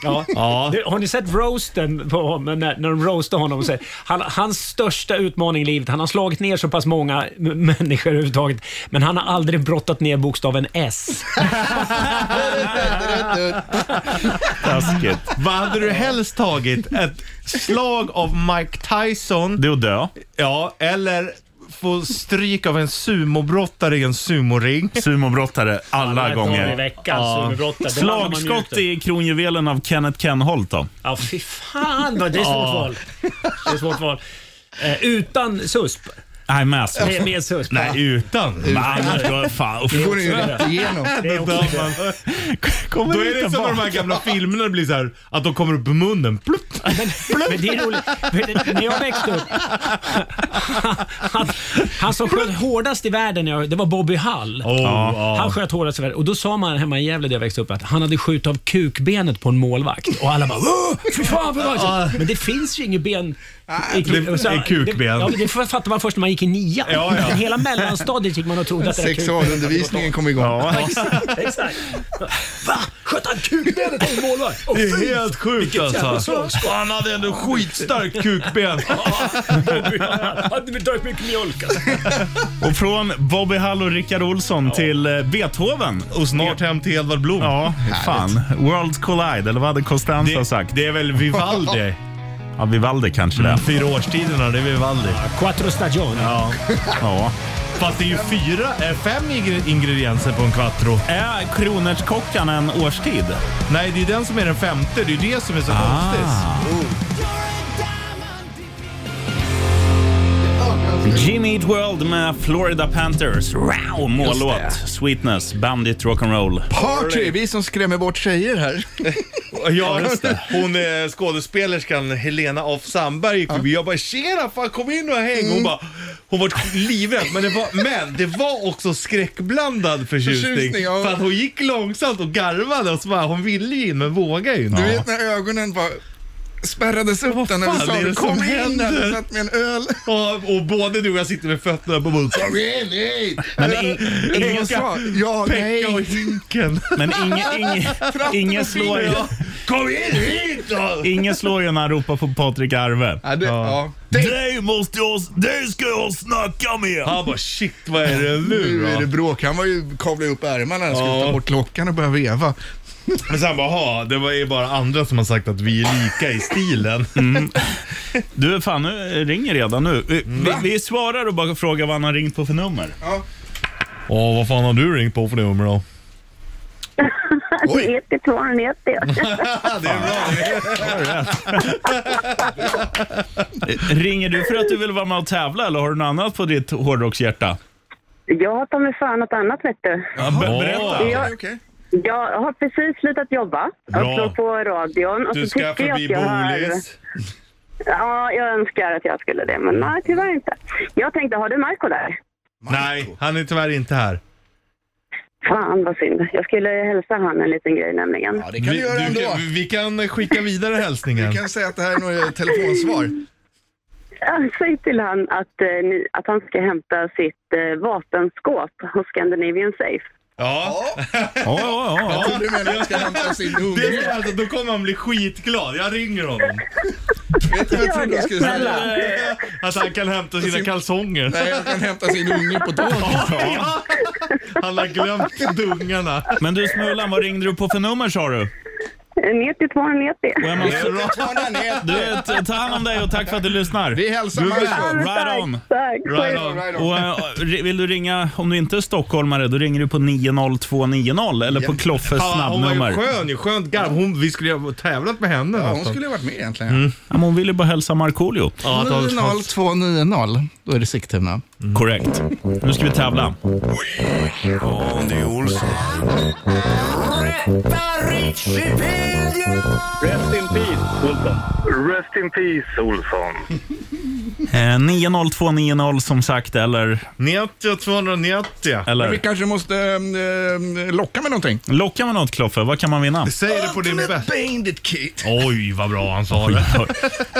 [SPEAKER 5] Ja.
[SPEAKER 3] Ja.
[SPEAKER 5] Det- Har ni sett roasten på honom, när, när de roastar honom? Och säger, han, hans största utmaning i livet, han har slagit ner så pass många m- människor överhuvudtaget, men han har aldrig brottat ner bokstaven S.
[SPEAKER 2] taskigt.
[SPEAKER 3] Vad hade du helst tagit? Ett slag av Mike Tyson?
[SPEAKER 2] Det är att dö.
[SPEAKER 3] Ja, eller få stryk av en sumobrottare i en sumoring.
[SPEAKER 2] Sumobrottare alla
[SPEAKER 5] Alla dagar i
[SPEAKER 2] gånger.
[SPEAKER 5] veckan,
[SPEAKER 3] Ja.
[SPEAKER 5] superbrottat. Det landar man mjukt
[SPEAKER 2] Slagskott
[SPEAKER 5] i.
[SPEAKER 2] i kronjuvelen av Kenneth Kenholt då.
[SPEAKER 5] Ja, fy fan vad det är svårt val. Det är svårt val. Eh, utan susp.
[SPEAKER 2] Nej, med alltså.
[SPEAKER 5] Med, med susp.
[SPEAKER 3] Nej, utan.
[SPEAKER 2] Men Annars då, är fan. Uff.
[SPEAKER 4] Det går ju rätt igenom.
[SPEAKER 5] Det är också det.
[SPEAKER 2] Kommer
[SPEAKER 3] Då är det som de här gamla filmerna det blir så här att de kommer upp i munnen. Plupp.
[SPEAKER 5] Men det är roligt. för När jag växte upp. Han, han som sköt hårdast i världen, när jag- det var Bobby Hall.
[SPEAKER 3] Oh,
[SPEAKER 5] Han sköt hårdast i världen. Och då sa man hemma i Gävle där jag växte upp att han hade skjutit av kukbenet på en målvakt. Och alla bara "Åh, fy fan, fy fan. Men det finns ju inget ben. I,
[SPEAKER 3] det är kukben.
[SPEAKER 5] Det, ja, men det fattade man först när man gick i nian.
[SPEAKER 3] Ja, ja.
[SPEAKER 5] Men hela mellanstadiet gick man och trodde att det där
[SPEAKER 4] Sexualundervisningen kom igång.
[SPEAKER 5] kukbenet- Exakt, [laughs] Exakt. Va? Sköt han kukbenet på en målvakt? Åh,
[SPEAKER 3] Det
[SPEAKER 5] fy
[SPEAKER 3] är helt sjukt
[SPEAKER 5] jävla
[SPEAKER 3] alltså.
[SPEAKER 5] slagskott.
[SPEAKER 3] Han hade ändå skitstarkt kukben.
[SPEAKER 5] [laughs] Hade vi druckit mycket mjölk alltså.
[SPEAKER 2] Och från Bobby Hall och Rickard Olsson till eh, Beethoven.
[SPEAKER 3] Och snart hem till Edvard Blom.
[SPEAKER 2] Ja, fan. World Collide, eller vad hade Costanza
[SPEAKER 3] Det,
[SPEAKER 2] sagt?
[SPEAKER 3] [laughs] det är väl Vivaldi?
[SPEAKER 2] [laughs]
[SPEAKER 3] Mm.
[SPEAKER 2] Ja, Vivaldi kanske det.
[SPEAKER 3] Fyra årstiderna, det är Vivaldi.
[SPEAKER 5] Quattro stagioni.
[SPEAKER 3] Ja.
[SPEAKER 2] Ja.
[SPEAKER 3] Fast det är ju fyra, eh, fem ingre- ingredienser på en quattro.
[SPEAKER 2] Är kronärtskockan en årstid?
[SPEAKER 3] Nej, det är den som är den femte. Det är ju det som är så konstigt.
[SPEAKER 2] Jimmy Eat World med Florida Panthers. Wow, mållåt. Sweetness, Bandit, Rock'n'Roll.
[SPEAKER 4] Party, vi som skrämmer bort tjejer här.
[SPEAKER 3] Ja, Hon eh, skådespelerskan Helena af Sandberg gick förbi. Jag bara “tjena, fan kom in och häng”. Hon bara, hon var livrädd. Men det var, men det var också skräckblandad förtjusning.
[SPEAKER 4] Förtjusning, ja.
[SPEAKER 3] För att hon gick långsamt och garvade och så bara, hon ville ju in men vågade ju inte.
[SPEAKER 4] Du vet när ögonen bara spärrades upp där när vi
[SPEAKER 3] fan
[SPEAKER 4] sa
[SPEAKER 3] är
[SPEAKER 4] det,
[SPEAKER 3] det
[SPEAKER 4] kom
[SPEAKER 3] som
[SPEAKER 4] in
[SPEAKER 3] händer?"
[SPEAKER 4] här, du satt med en öl.
[SPEAKER 3] Och, och både du och jag sitter med fötterna på bordet. Kom in, hit!
[SPEAKER 2] Men, in,
[SPEAKER 4] Jag
[SPEAKER 2] inget,
[SPEAKER 4] sa, ja, nej.
[SPEAKER 3] Pekka och [laughs] hinken.
[SPEAKER 2] men inget, inget, inget, slår, ju-
[SPEAKER 3] Kom in hit då!
[SPEAKER 2] inget slår ju när han ropar på Patrik Arve.
[SPEAKER 4] Ja, det, ja.
[SPEAKER 2] Det måste jag, det ska jag snacka med.
[SPEAKER 3] Han bara shit vad är det nu
[SPEAKER 4] Nu är det
[SPEAKER 3] då?
[SPEAKER 4] bråk. Han var ju kavlade upp ärmarna och skulle
[SPEAKER 3] Ja.
[SPEAKER 4] ta bort klockan och börja veva.
[SPEAKER 3] Men sen bara, "Ha, det var ju bara andra som har sagt att vi är lika i stilen.
[SPEAKER 2] Du, fan nu ringer redan nu. Vi,
[SPEAKER 3] Mm.
[SPEAKER 2] vi, vi svarar och bara frågar vad han har ringt på för nummer.
[SPEAKER 3] Åh, vad fan har du ringt på för nummer då?
[SPEAKER 4] Oj.
[SPEAKER 6] 9290.
[SPEAKER 3] [laughs] [laughs] det är bra.
[SPEAKER 2] Ringer du för att du vill vara med och tävla eller har du något annat på ditt hårdrockshjärta?
[SPEAKER 6] Jag tar mig fan något annat vet du.
[SPEAKER 2] Ja, be- berätta.
[SPEAKER 6] Jag,
[SPEAKER 4] Okej.
[SPEAKER 6] jag har precis slutat jobba
[SPEAKER 3] Bra.
[SPEAKER 6] och slår på radion. Och
[SPEAKER 3] Du
[SPEAKER 6] så
[SPEAKER 3] ska
[SPEAKER 6] tycker jag
[SPEAKER 3] förbi
[SPEAKER 6] att jag hör...
[SPEAKER 3] Bolis.
[SPEAKER 6] Ja, jag önskar att jag skulle det, men nej tyvärr inte. Jag tänkte, har du Marco där?
[SPEAKER 3] Nej, han är tyvärr inte här.
[SPEAKER 6] Fan vad synd. Jag skulle hälsa han en liten grej nämligen.
[SPEAKER 4] Ja, det kan vi, göra
[SPEAKER 3] du,
[SPEAKER 4] ändå.
[SPEAKER 3] kan-
[SPEAKER 4] vi,
[SPEAKER 3] vi kan skicka vidare hälsningen.
[SPEAKER 4] kan säga att det här är några telefonsvar.
[SPEAKER 6] Ja, Säg till han att, eh, ni, att han ska hämta sitt eh, vapenskåp hos Scandinavian Safe.
[SPEAKER 3] Ja.
[SPEAKER 2] Ja, ja, ja.
[SPEAKER 4] Jag trodde du menade att han ska hämta sin
[SPEAKER 3] Det
[SPEAKER 4] unge.
[SPEAKER 3] är, alltså, då kommer han bli skitglad. Jag ringer honom.
[SPEAKER 4] Vet du vad jag
[SPEAKER 6] Gör
[SPEAKER 4] trodde
[SPEAKER 6] det,
[SPEAKER 4] jag skulle säga?
[SPEAKER 6] snälla.
[SPEAKER 3] Att han kan hämta sina kalsonger.
[SPEAKER 4] Nej, han kan hämta sin unge på tåget.
[SPEAKER 3] Ja. Han har glömt dungarna.
[SPEAKER 2] Men du Smulan, vad ringde du på för nummer sa du?
[SPEAKER 6] Eh, 9290.
[SPEAKER 2] Och jag måste- Du, t- ta hand om dig och tack för att du lyssnar.
[SPEAKER 4] Vi hälsar Marco.
[SPEAKER 6] men
[SPEAKER 2] right
[SPEAKER 6] tack,
[SPEAKER 2] on.
[SPEAKER 6] Tack.
[SPEAKER 3] Right on.
[SPEAKER 4] Right on.
[SPEAKER 2] Och, eh, ri- vill du ringa, om du inte är stockholmare, då ringer du på 90290 eller på Kloffes
[SPEAKER 3] Ja, hon var ju
[SPEAKER 2] snabbnummer.
[SPEAKER 3] skön ju. Skönt garv. Hon, vi skulle ju ha tävlat med henne. alltså.
[SPEAKER 4] Ja, hon
[SPEAKER 3] nästan.
[SPEAKER 4] skulle ha varit med egentligen.
[SPEAKER 2] Ja, men Hon ville bara hälsa Markoolio.
[SPEAKER 3] Ja, att hon-
[SPEAKER 4] 90290, då är det Sigtuna.
[SPEAKER 2] Korrekt. Nu ska vi tävla.
[SPEAKER 1] Andy Olsson.
[SPEAKER 7] Rest in peace, Olsson. Rest in peace, Olsson.
[SPEAKER 2] Eh, 90290 som sagt, eller...
[SPEAKER 3] 90 290.
[SPEAKER 4] Vi
[SPEAKER 2] eller
[SPEAKER 4] kanske måste eh, locka med någonting.
[SPEAKER 2] locka med något Kloffe, vad kan man vinna?
[SPEAKER 3] Säg det på din bästa.
[SPEAKER 4] Bandit Kit.
[SPEAKER 3] [laughs] Oj, vad bra han sa det.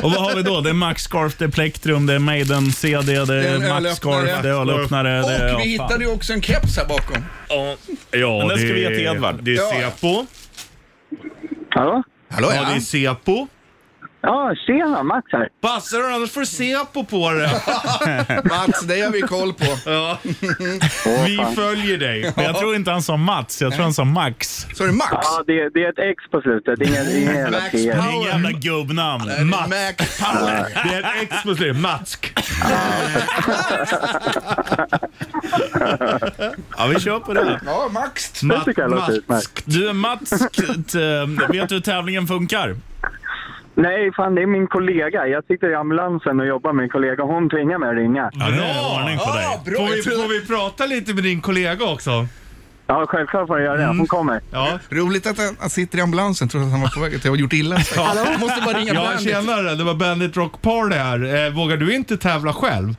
[SPEAKER 2] Och vad har vi då? Det är Max Scarf, det är Plektrum, det är Maiden-CD, det
[SPEAKER 4] Det är
[SPEAKER 2] är
[SPEAKER 4] en
[SPEAKER 2] Max Scarf, det är ölöppnare. det är-
[SPEAKER 4] Och vi
[SPEAKER 2] ja, fan.
[SPEAKER 4] hittade ju också en keps här bakom.
[SPEAKER 3] Ja,
[SPEAKER 2] Den ska vi ge till Edvard.
[SPEAKER 3] Det är Sepo.
[SPEAKER 7] Hallå?
[SPEAKER 4] Hallå
[SPEAKER 3] Ja, det är Sepo.
[SPEAKER 7] Ja, tjena, Max här.
[SPEAKER 3] Passar du annars får du Sepo på det.
[SPEAKER 4] Mats, det har vi koll på.
[SPEAKER 3] Ja. Vi följer dig.
[SPEAKER 2] Men jag tror inte han sa Mats, jag tror han sa Max.
[SPEAKER 4] Så är det Max.
[SPEAKER 7] Ja, det, det är ett X på slutet. Ingen, ingen jävla
[SPEAKER 4] Max
[SPEAKER 7] P.
[SPEAKER 2] Det är inget jävla gubbnamn.
[SPEAKER 4] Max. Max Power.
[SPEAKER 3] Det är ett X på slutet. Matsk.
[SPEAKER 2] Ja, vi kör på det.
[SPEAKER 4] Ja, Max.
[SPEAKER 7] Det tycker jag låter utmärkt.
[SPEAKER 2] Du Mats, t- eh, vet du hur tävlingen funkar?
[SPEAKER 7] Nej, fan, det är min kollega. Jag sitter i ambulansen och jobbar med en kollega. Hon tvingar mig att ringa.
[SPEAKER 2] Ja, det är ordning på dig.
[SPEAKER 4] Ja, bra.
[SPEAKER 3] Får
[SPEAKER 4] Jag
[SPEAKER 3] vi,
[SPEAKER 4] trodde-
[SPEAKER 3] får vi prata lite med din kollega också?
[SPEAKER 7] Ja, självklart får jag göra det. Hon kommer.
[SPEAKER 3] Ja.
[SPEAKER 4] Roligt att han han sitter i ambulansen trots att han var på väg att ha gjort illa sig. Jag Måste bara ringa
[SPEAKER 3] Ja,
[SPEAKER 4] Bandit.
[SPEAKER 3] tjenare. Det var Bandit Rock Party här. Eh, Vågar du inte tävla själv?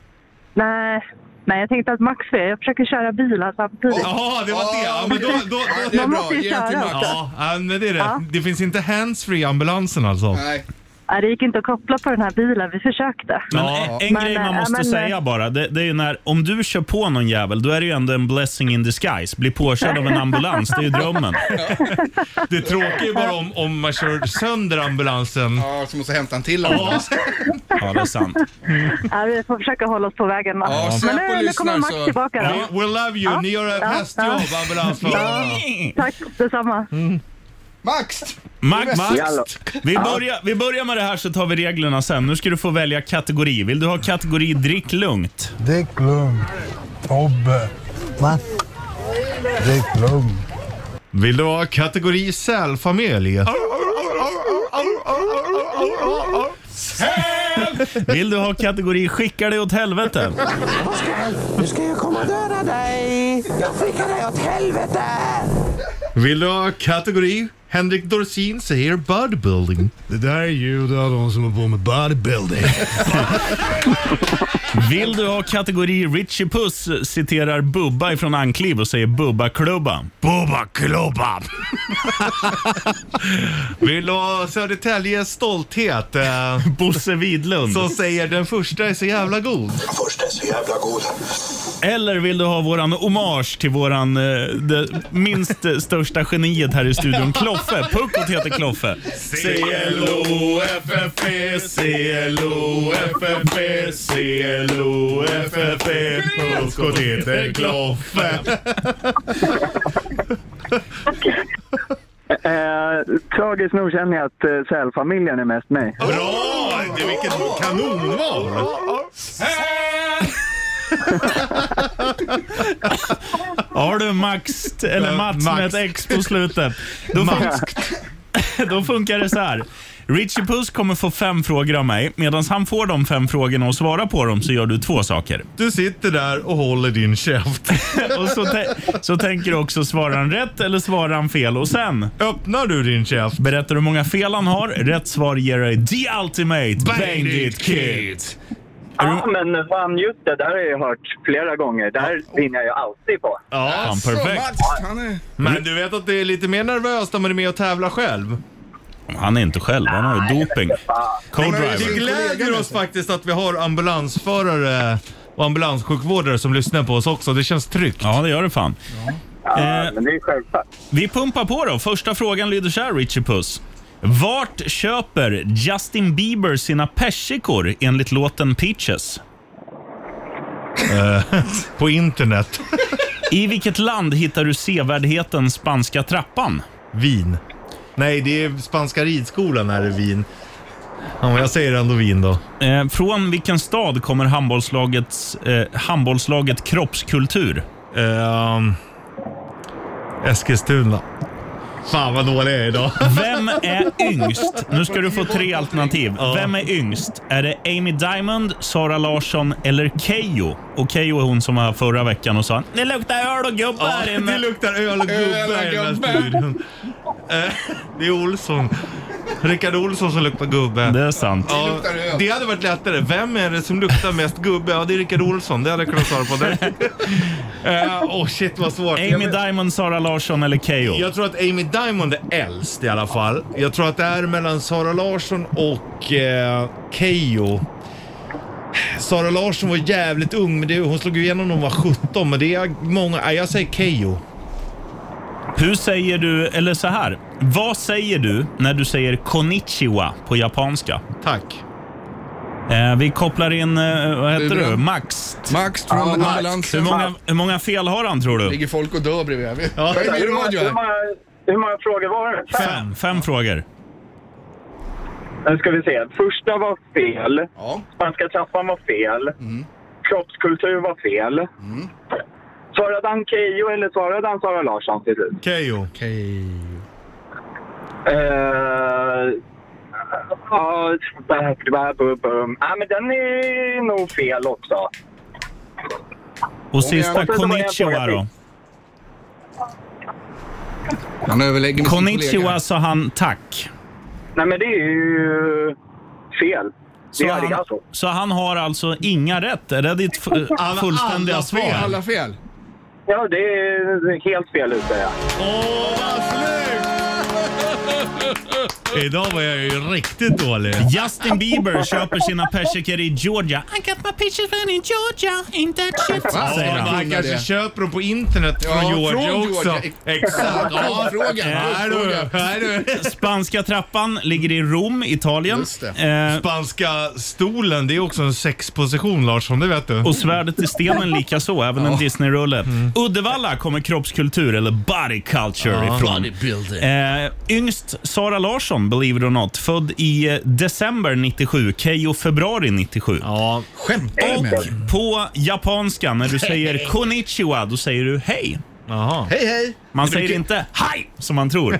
[SPEAKER 8] Nej, nej, jag tänkte att Max är. Jag försöker köra bilar samtidigt.
[SPEAKER 3] Jaha, det var
[SPEAKER 4] Ja,
[SPEAKER 3] det. Ja, men då, då,
[SPEAKER 4] Ja, [laughs]
[SPEAKER 3] då,
[SPEAKER 4] det är
[SPEAKER 8] Man
[SPEAKER 4] bra.
[SPEAKER 8] måste ju
[SPEAKER 4] Ge den till
[SPEAKER 8] köra.
[SPEAKER 4] Max.
[SPEAKER 3] ja, ja, men det är
[SPEAKER 8] Ja.
[SPEAKER 3] rätt. Det finns inte handsfree i ambulansen alltså.
[SPEAKER 4] Nej.
[SPEAKER 8] Nej, det gick inte att koppla på den här bilen. Vi försökte.
[SPEAKER 2] Men
[SPEAKER 3] Ja.
[SPEAKER 2] en, en
[SPEAKER 8] Men,
[SPEAKER 2] grej man
[SPEAKER 8] eh,
[SPEAKER 2] måste
[SPEAKER 8] men,
[SPEAKER 2] säga
[SPEAKER 8] eh,
[SPEAKER 2] bara, det, det är ju när, om du kör på någon jävel, då är det ju ändå en blessing in disguise. Bli påkörd av en ambulans, det är ju drömmen.
[SPEAKER 3] Det tråkiga är bara om, om man kör sönder ambulansen.
[SPEAKER 4] Ja, så måste jag hämta en till ambulans.
[SPEAKER 2] Ja, det är sant.
[SPEAKER 8] Nej, vi får försöka hålla oss på vägen. Va?
[SPEAKER 4] Ja, Säpo
[SPEAKER 8] Men nu, nu
[SPEAKER 4] lyssnar,
[SPEAKER 8] kommer Max
[SPEAKER 4] så-
[SPEAKER 8] tillbaka. då.
[SPEAKER 3] We, we love you. Ni gör ett
[SPEAKER 8] Ja.
[SPEAKER 3] hästjobb, ambulansförarna.
[SPEAKER 8] Tack detsamma.
[SPEAKER 4] Max!
[SPEAKER 2] Max,
[SPEAKER 7] Jalla.
[SPEAKER 2] Max. Vi, börjar, vi börjar med det här så tar vi reglerna sen. Nu ska du få välja kategori. Vill du ha kategori drick lugnt?
[SPEAKER 9] Drick lugnt. Tobbe. Va? Drick lugnt.
[SPEAKER 3] Vill du ha kategori sälfamilj?
[SPEAKER 2] Vill du ha kategori skicka dig åt helvete?
[SPEAKER 9] Nu ska jag komma och döda dig. Jag skickar dig åt helvete.
[SPEAKER 3] Vill du ha kategori Henrik Dorsin säger bodybuilding?
[SPEAKER 9] Det där är ljud av de som har på med
[SPEAKER 3] [laughs]
[SPEAKER 9] bodybuilding.
[SPEAKER 2] Vill du ha kategori Richie Puss citerar Bubba ifrån Ankliv och säger Bubba-klubba?
[SPEAKER 9] Bubba klubba.
[SPEAKER 3] [laughs] Vill du ha Södertäljes stolthet? Eh,
[SPEAKER 2] Bosse Widlund.
[SPEAKER 3] som säger den första är så jävla god.
[SPEAKER 9] Först är så jävla god.
[SPEAKER 2] Eller vill du ha våran hommage till våran eh, det minst eh, största geniet här i studion, Kloffe? Puckot heter Kloffe.
[SPEAKER 3] C-L-O-F-F-E, C-L-O-F-F-E,
[SPEAKER 2] [laughs]
[SPEAKER 3] C-L-O-F-F-E, Puskot heter Kloffe.
[SPEAKER 7] Eh, tragiskt nog känner jag att eh, sälfamiljen är mest mig.
[SPEAKER 3] Bra! Det- Vilket kanonval!
[SPEAKER 2] Ja du, Max, eller Mats
[SPEAKER 3] Max.
[SPEAKER 2] med ett X på slutet. Då, fun- då funkar [laughs] det så här. Richie Puss kommer få fem frågor av mig. Medan han får de fem frågorna och svarar på dem så gör du två saker.
[SPEAKER 3] Du sitter där och håller din käft.
[SPEAKER 2] [laughs] Och så, tä- så tänker du också, svarar han rätt eller svarar han fel? Och sen
[SPEAKER 3] Öppnar du din käft?
[SPEAKER 2] berättar du hur många fel han har. Rätt svar ger dig the ultimate bandit kid.
[SPEAKER 7] Ja, men fan just det där har jag ju hört flera gånger. Där vinner jag ju alltid på.
[SPEAKER 3] Ja.
[SPEAKER 2] Fan,
[SPEAKER 4] Så
[SPEAKER 2] perfekt.
[SPEAKER 4] Max, han är...
[SPEAKER 3] Men du vet att det är lite mer nervöst när man är med och tävlar själv.
[SPEAKER 2] Han är inte själv, han har ju doping.
[SPEAKER 3] Det
[SPEAKER 2] Co-driver.
[SPEAKER 3] gläder oss faktiskt att vi har ambulansförare och ambulanssjukvårdare som lyssnar på oss också. Det känns tryggt.
[SPEAKER 2] Ja, det gör det fan. Eh,
[SPEAKER 7] Men det är ju självklart.
[SPEAKER 2] vi pumpar på då. Första frågan lyder så här, Richie Puss. Vart köper Justin Bieber sina persikor enligt låten Peaches?
[SPEAKER 3] På internet.
[SPEAKER 2] I vilket land hittar du sevärdheten Spanska trappan?
[SPEAKER 3] Vin. Nej, det är spanska ridskolan här i Wien. Ja, men jag säger ändå Wien då.
[SPEAKER 2] Eh, från vilken stad kommer handbollslagets, eh, handbollslaget Kroppskultur?
[SPEAKER 3] Ehm, Eskilstuna. Fan vad dålig jag är idag.
[SPEAKER 2] Vem är yngst? Nu ska du få tre alternativ. Vem är yngst? Är det Amy Diamond, Sara Larsson eller Keyyo? Och Keyyo är hon som var här förra veckan och sa “Det luktar öl och gubbar här
[SPEAKER 3] det
[SPEAKER 2] inne”.
[SPEAKER 3] luktar öl och gubbe i den här studion. Eh, Det är Olsson. Rickard Olsson som luktar gubbe.
[SPEAKER 2] Det är sant.
[SPEAKER 3] Ja,
[SPEAKER 4] luktar öl.
[SPEAKER 3] det hade varit lättare. Vem är det som luktar mest gubbe? Ja, det är Rickard Olsson. Det hade jag kunnat svara på. Det. Eh, Åh shit vad svårt.
[SPEAKER 2] Amy Diamond, Sara Larsson eller Keyyo?
[SPEAKER 3] Jag tror att Amy Diamond är äldst i alla fall. Jag tror att det är mellan Sara Larsson och eh, Keyyo. Sara Larsson var jävligt ung, men det, hon slog ju igenom när hon var 17. Men det är många... Nej, jag säger Keyyo.
[SPEAKER 2] Hur säger du, eller så här. Vad säger du när du säger konnichiwa på japanska?
[SPEAKER 3] Tack.
[SPEAKER 2] Eh, vi kopplar in, eh, vad heter
[SPEAKER 4] Luleå.
[SPEAKER 2] du? Max.
[SPEAKER 4] Max från
[SPEAKER 2] Hur
[SPEAKER 4] ambulansen.
[SPEAKER 2] många, hur många fel har han tror du?
[SPEAKER 4] ligger folk och dör bredvid. här. Jag är med i radio
[SPEAKER 7] hur,
[SPEAKER 4] här.
[SPEAKER 7] många, hur många frågor var det?
[SPEAKER 2] Fem. Fem frågor.
[SPEAKER 7] Nu ska vi se. Första var fel.
[SPEAKER 4] Ja.
[SPEAKER 7] Spanska trappan var fel.
[SPEAKER 2] Mm.
[SPEAKER 7] Kroppskultur var fel. Svarade han Keyyo eller svarade han Sara Larsson till slut?
[SPEAKER 3] Keyyo.
[SPEAKER 7] Eh, Ja, uh, men den är nog fel också.
[SPEAKER 2] Och sista,
[SPEAKER 7] Och sen så var det en
[SPEAKER 2] konnichiwa
[SPEAKER 7] fråga
[SPEAKER 2] då?
[SPEAKER 4] Han överlägger med sin
[SPEAKER 2] Konnichiwa
[SPEAKER 4] kollega.
[SPEAKER 2] sa han tack.
[SPEAKER 7] Nej, men det är ju fel.
[SPEAKER 2] Så
[SPEAKER 7] det är
[SPEAKER 2] han,
[SPEAKER 7] det alltså.
[SPEAKER 2] så han har alltså inga rätt? Är det ditt fu-
[SPEAKER 3] Alla-
[SPEAKER 2] fullständiga
[SPEAKER 3] alla
[SPEAKER 2] svar?
[SPEAKER 3] fel.
[SPEAKER 4] Alla fel.
[SPEAKER 7] Ja, det är helt fel ute. Ja.
[SPEAKER 3] Åh, vad snyggt! Idag var jag ju riktigt dålig.
[SPEAKER 2] Justin Bieber köper sina persikor i Georgia. I got my pictures from in Georgia, in that shit. Säger
[SPEAKER 3] Ja, men
[SPEAKER 2] han.
[SPEAKER 3] han kanske
[SPEAKER 4] det.
[SPEAKER 3] köper dem på internet från
[SPEAKER 4] Ja,
[SPEAKER 3] Georgia
[SPEAKER 4] från
[SPEAKER 3] också.
[SPEAKER 4] Georgia.
[SPEAKER 3] Exakt. Ja,
[SPEAKER 4] Frågan.
[SPEAKER 3] Nej du, nej du.
[SPEAKER 2] Spanska trappan ligger i Rom, Italien.
[SPEAKER 4] Just
[SPEAKER 2] Eh,
[SPEAKER 3] Spanska stolen, det är också en sexposition Larsson, det vet du.
[SPEAKER 2] och svärdet i stenen lika så, även en Disney-rulle. Uddevalla kommer kroppskultur, eller body culture, ifrån. Eh, yngst Sara Larsson, believe it or not, född i eh, december 97, Keyyo februari 97.
[SPEAKER 3] Ja,
[SPEAKER 4] Skämtar du med mig?
[SPEAKER 2] Och på japanska, när du säger konnichiwa, då säger du hej.
[SPEAKER 3] jaha.
[SPEAKER 4] Hej hej!
[SPEAKER 2] Man säger inte haj, som man tror.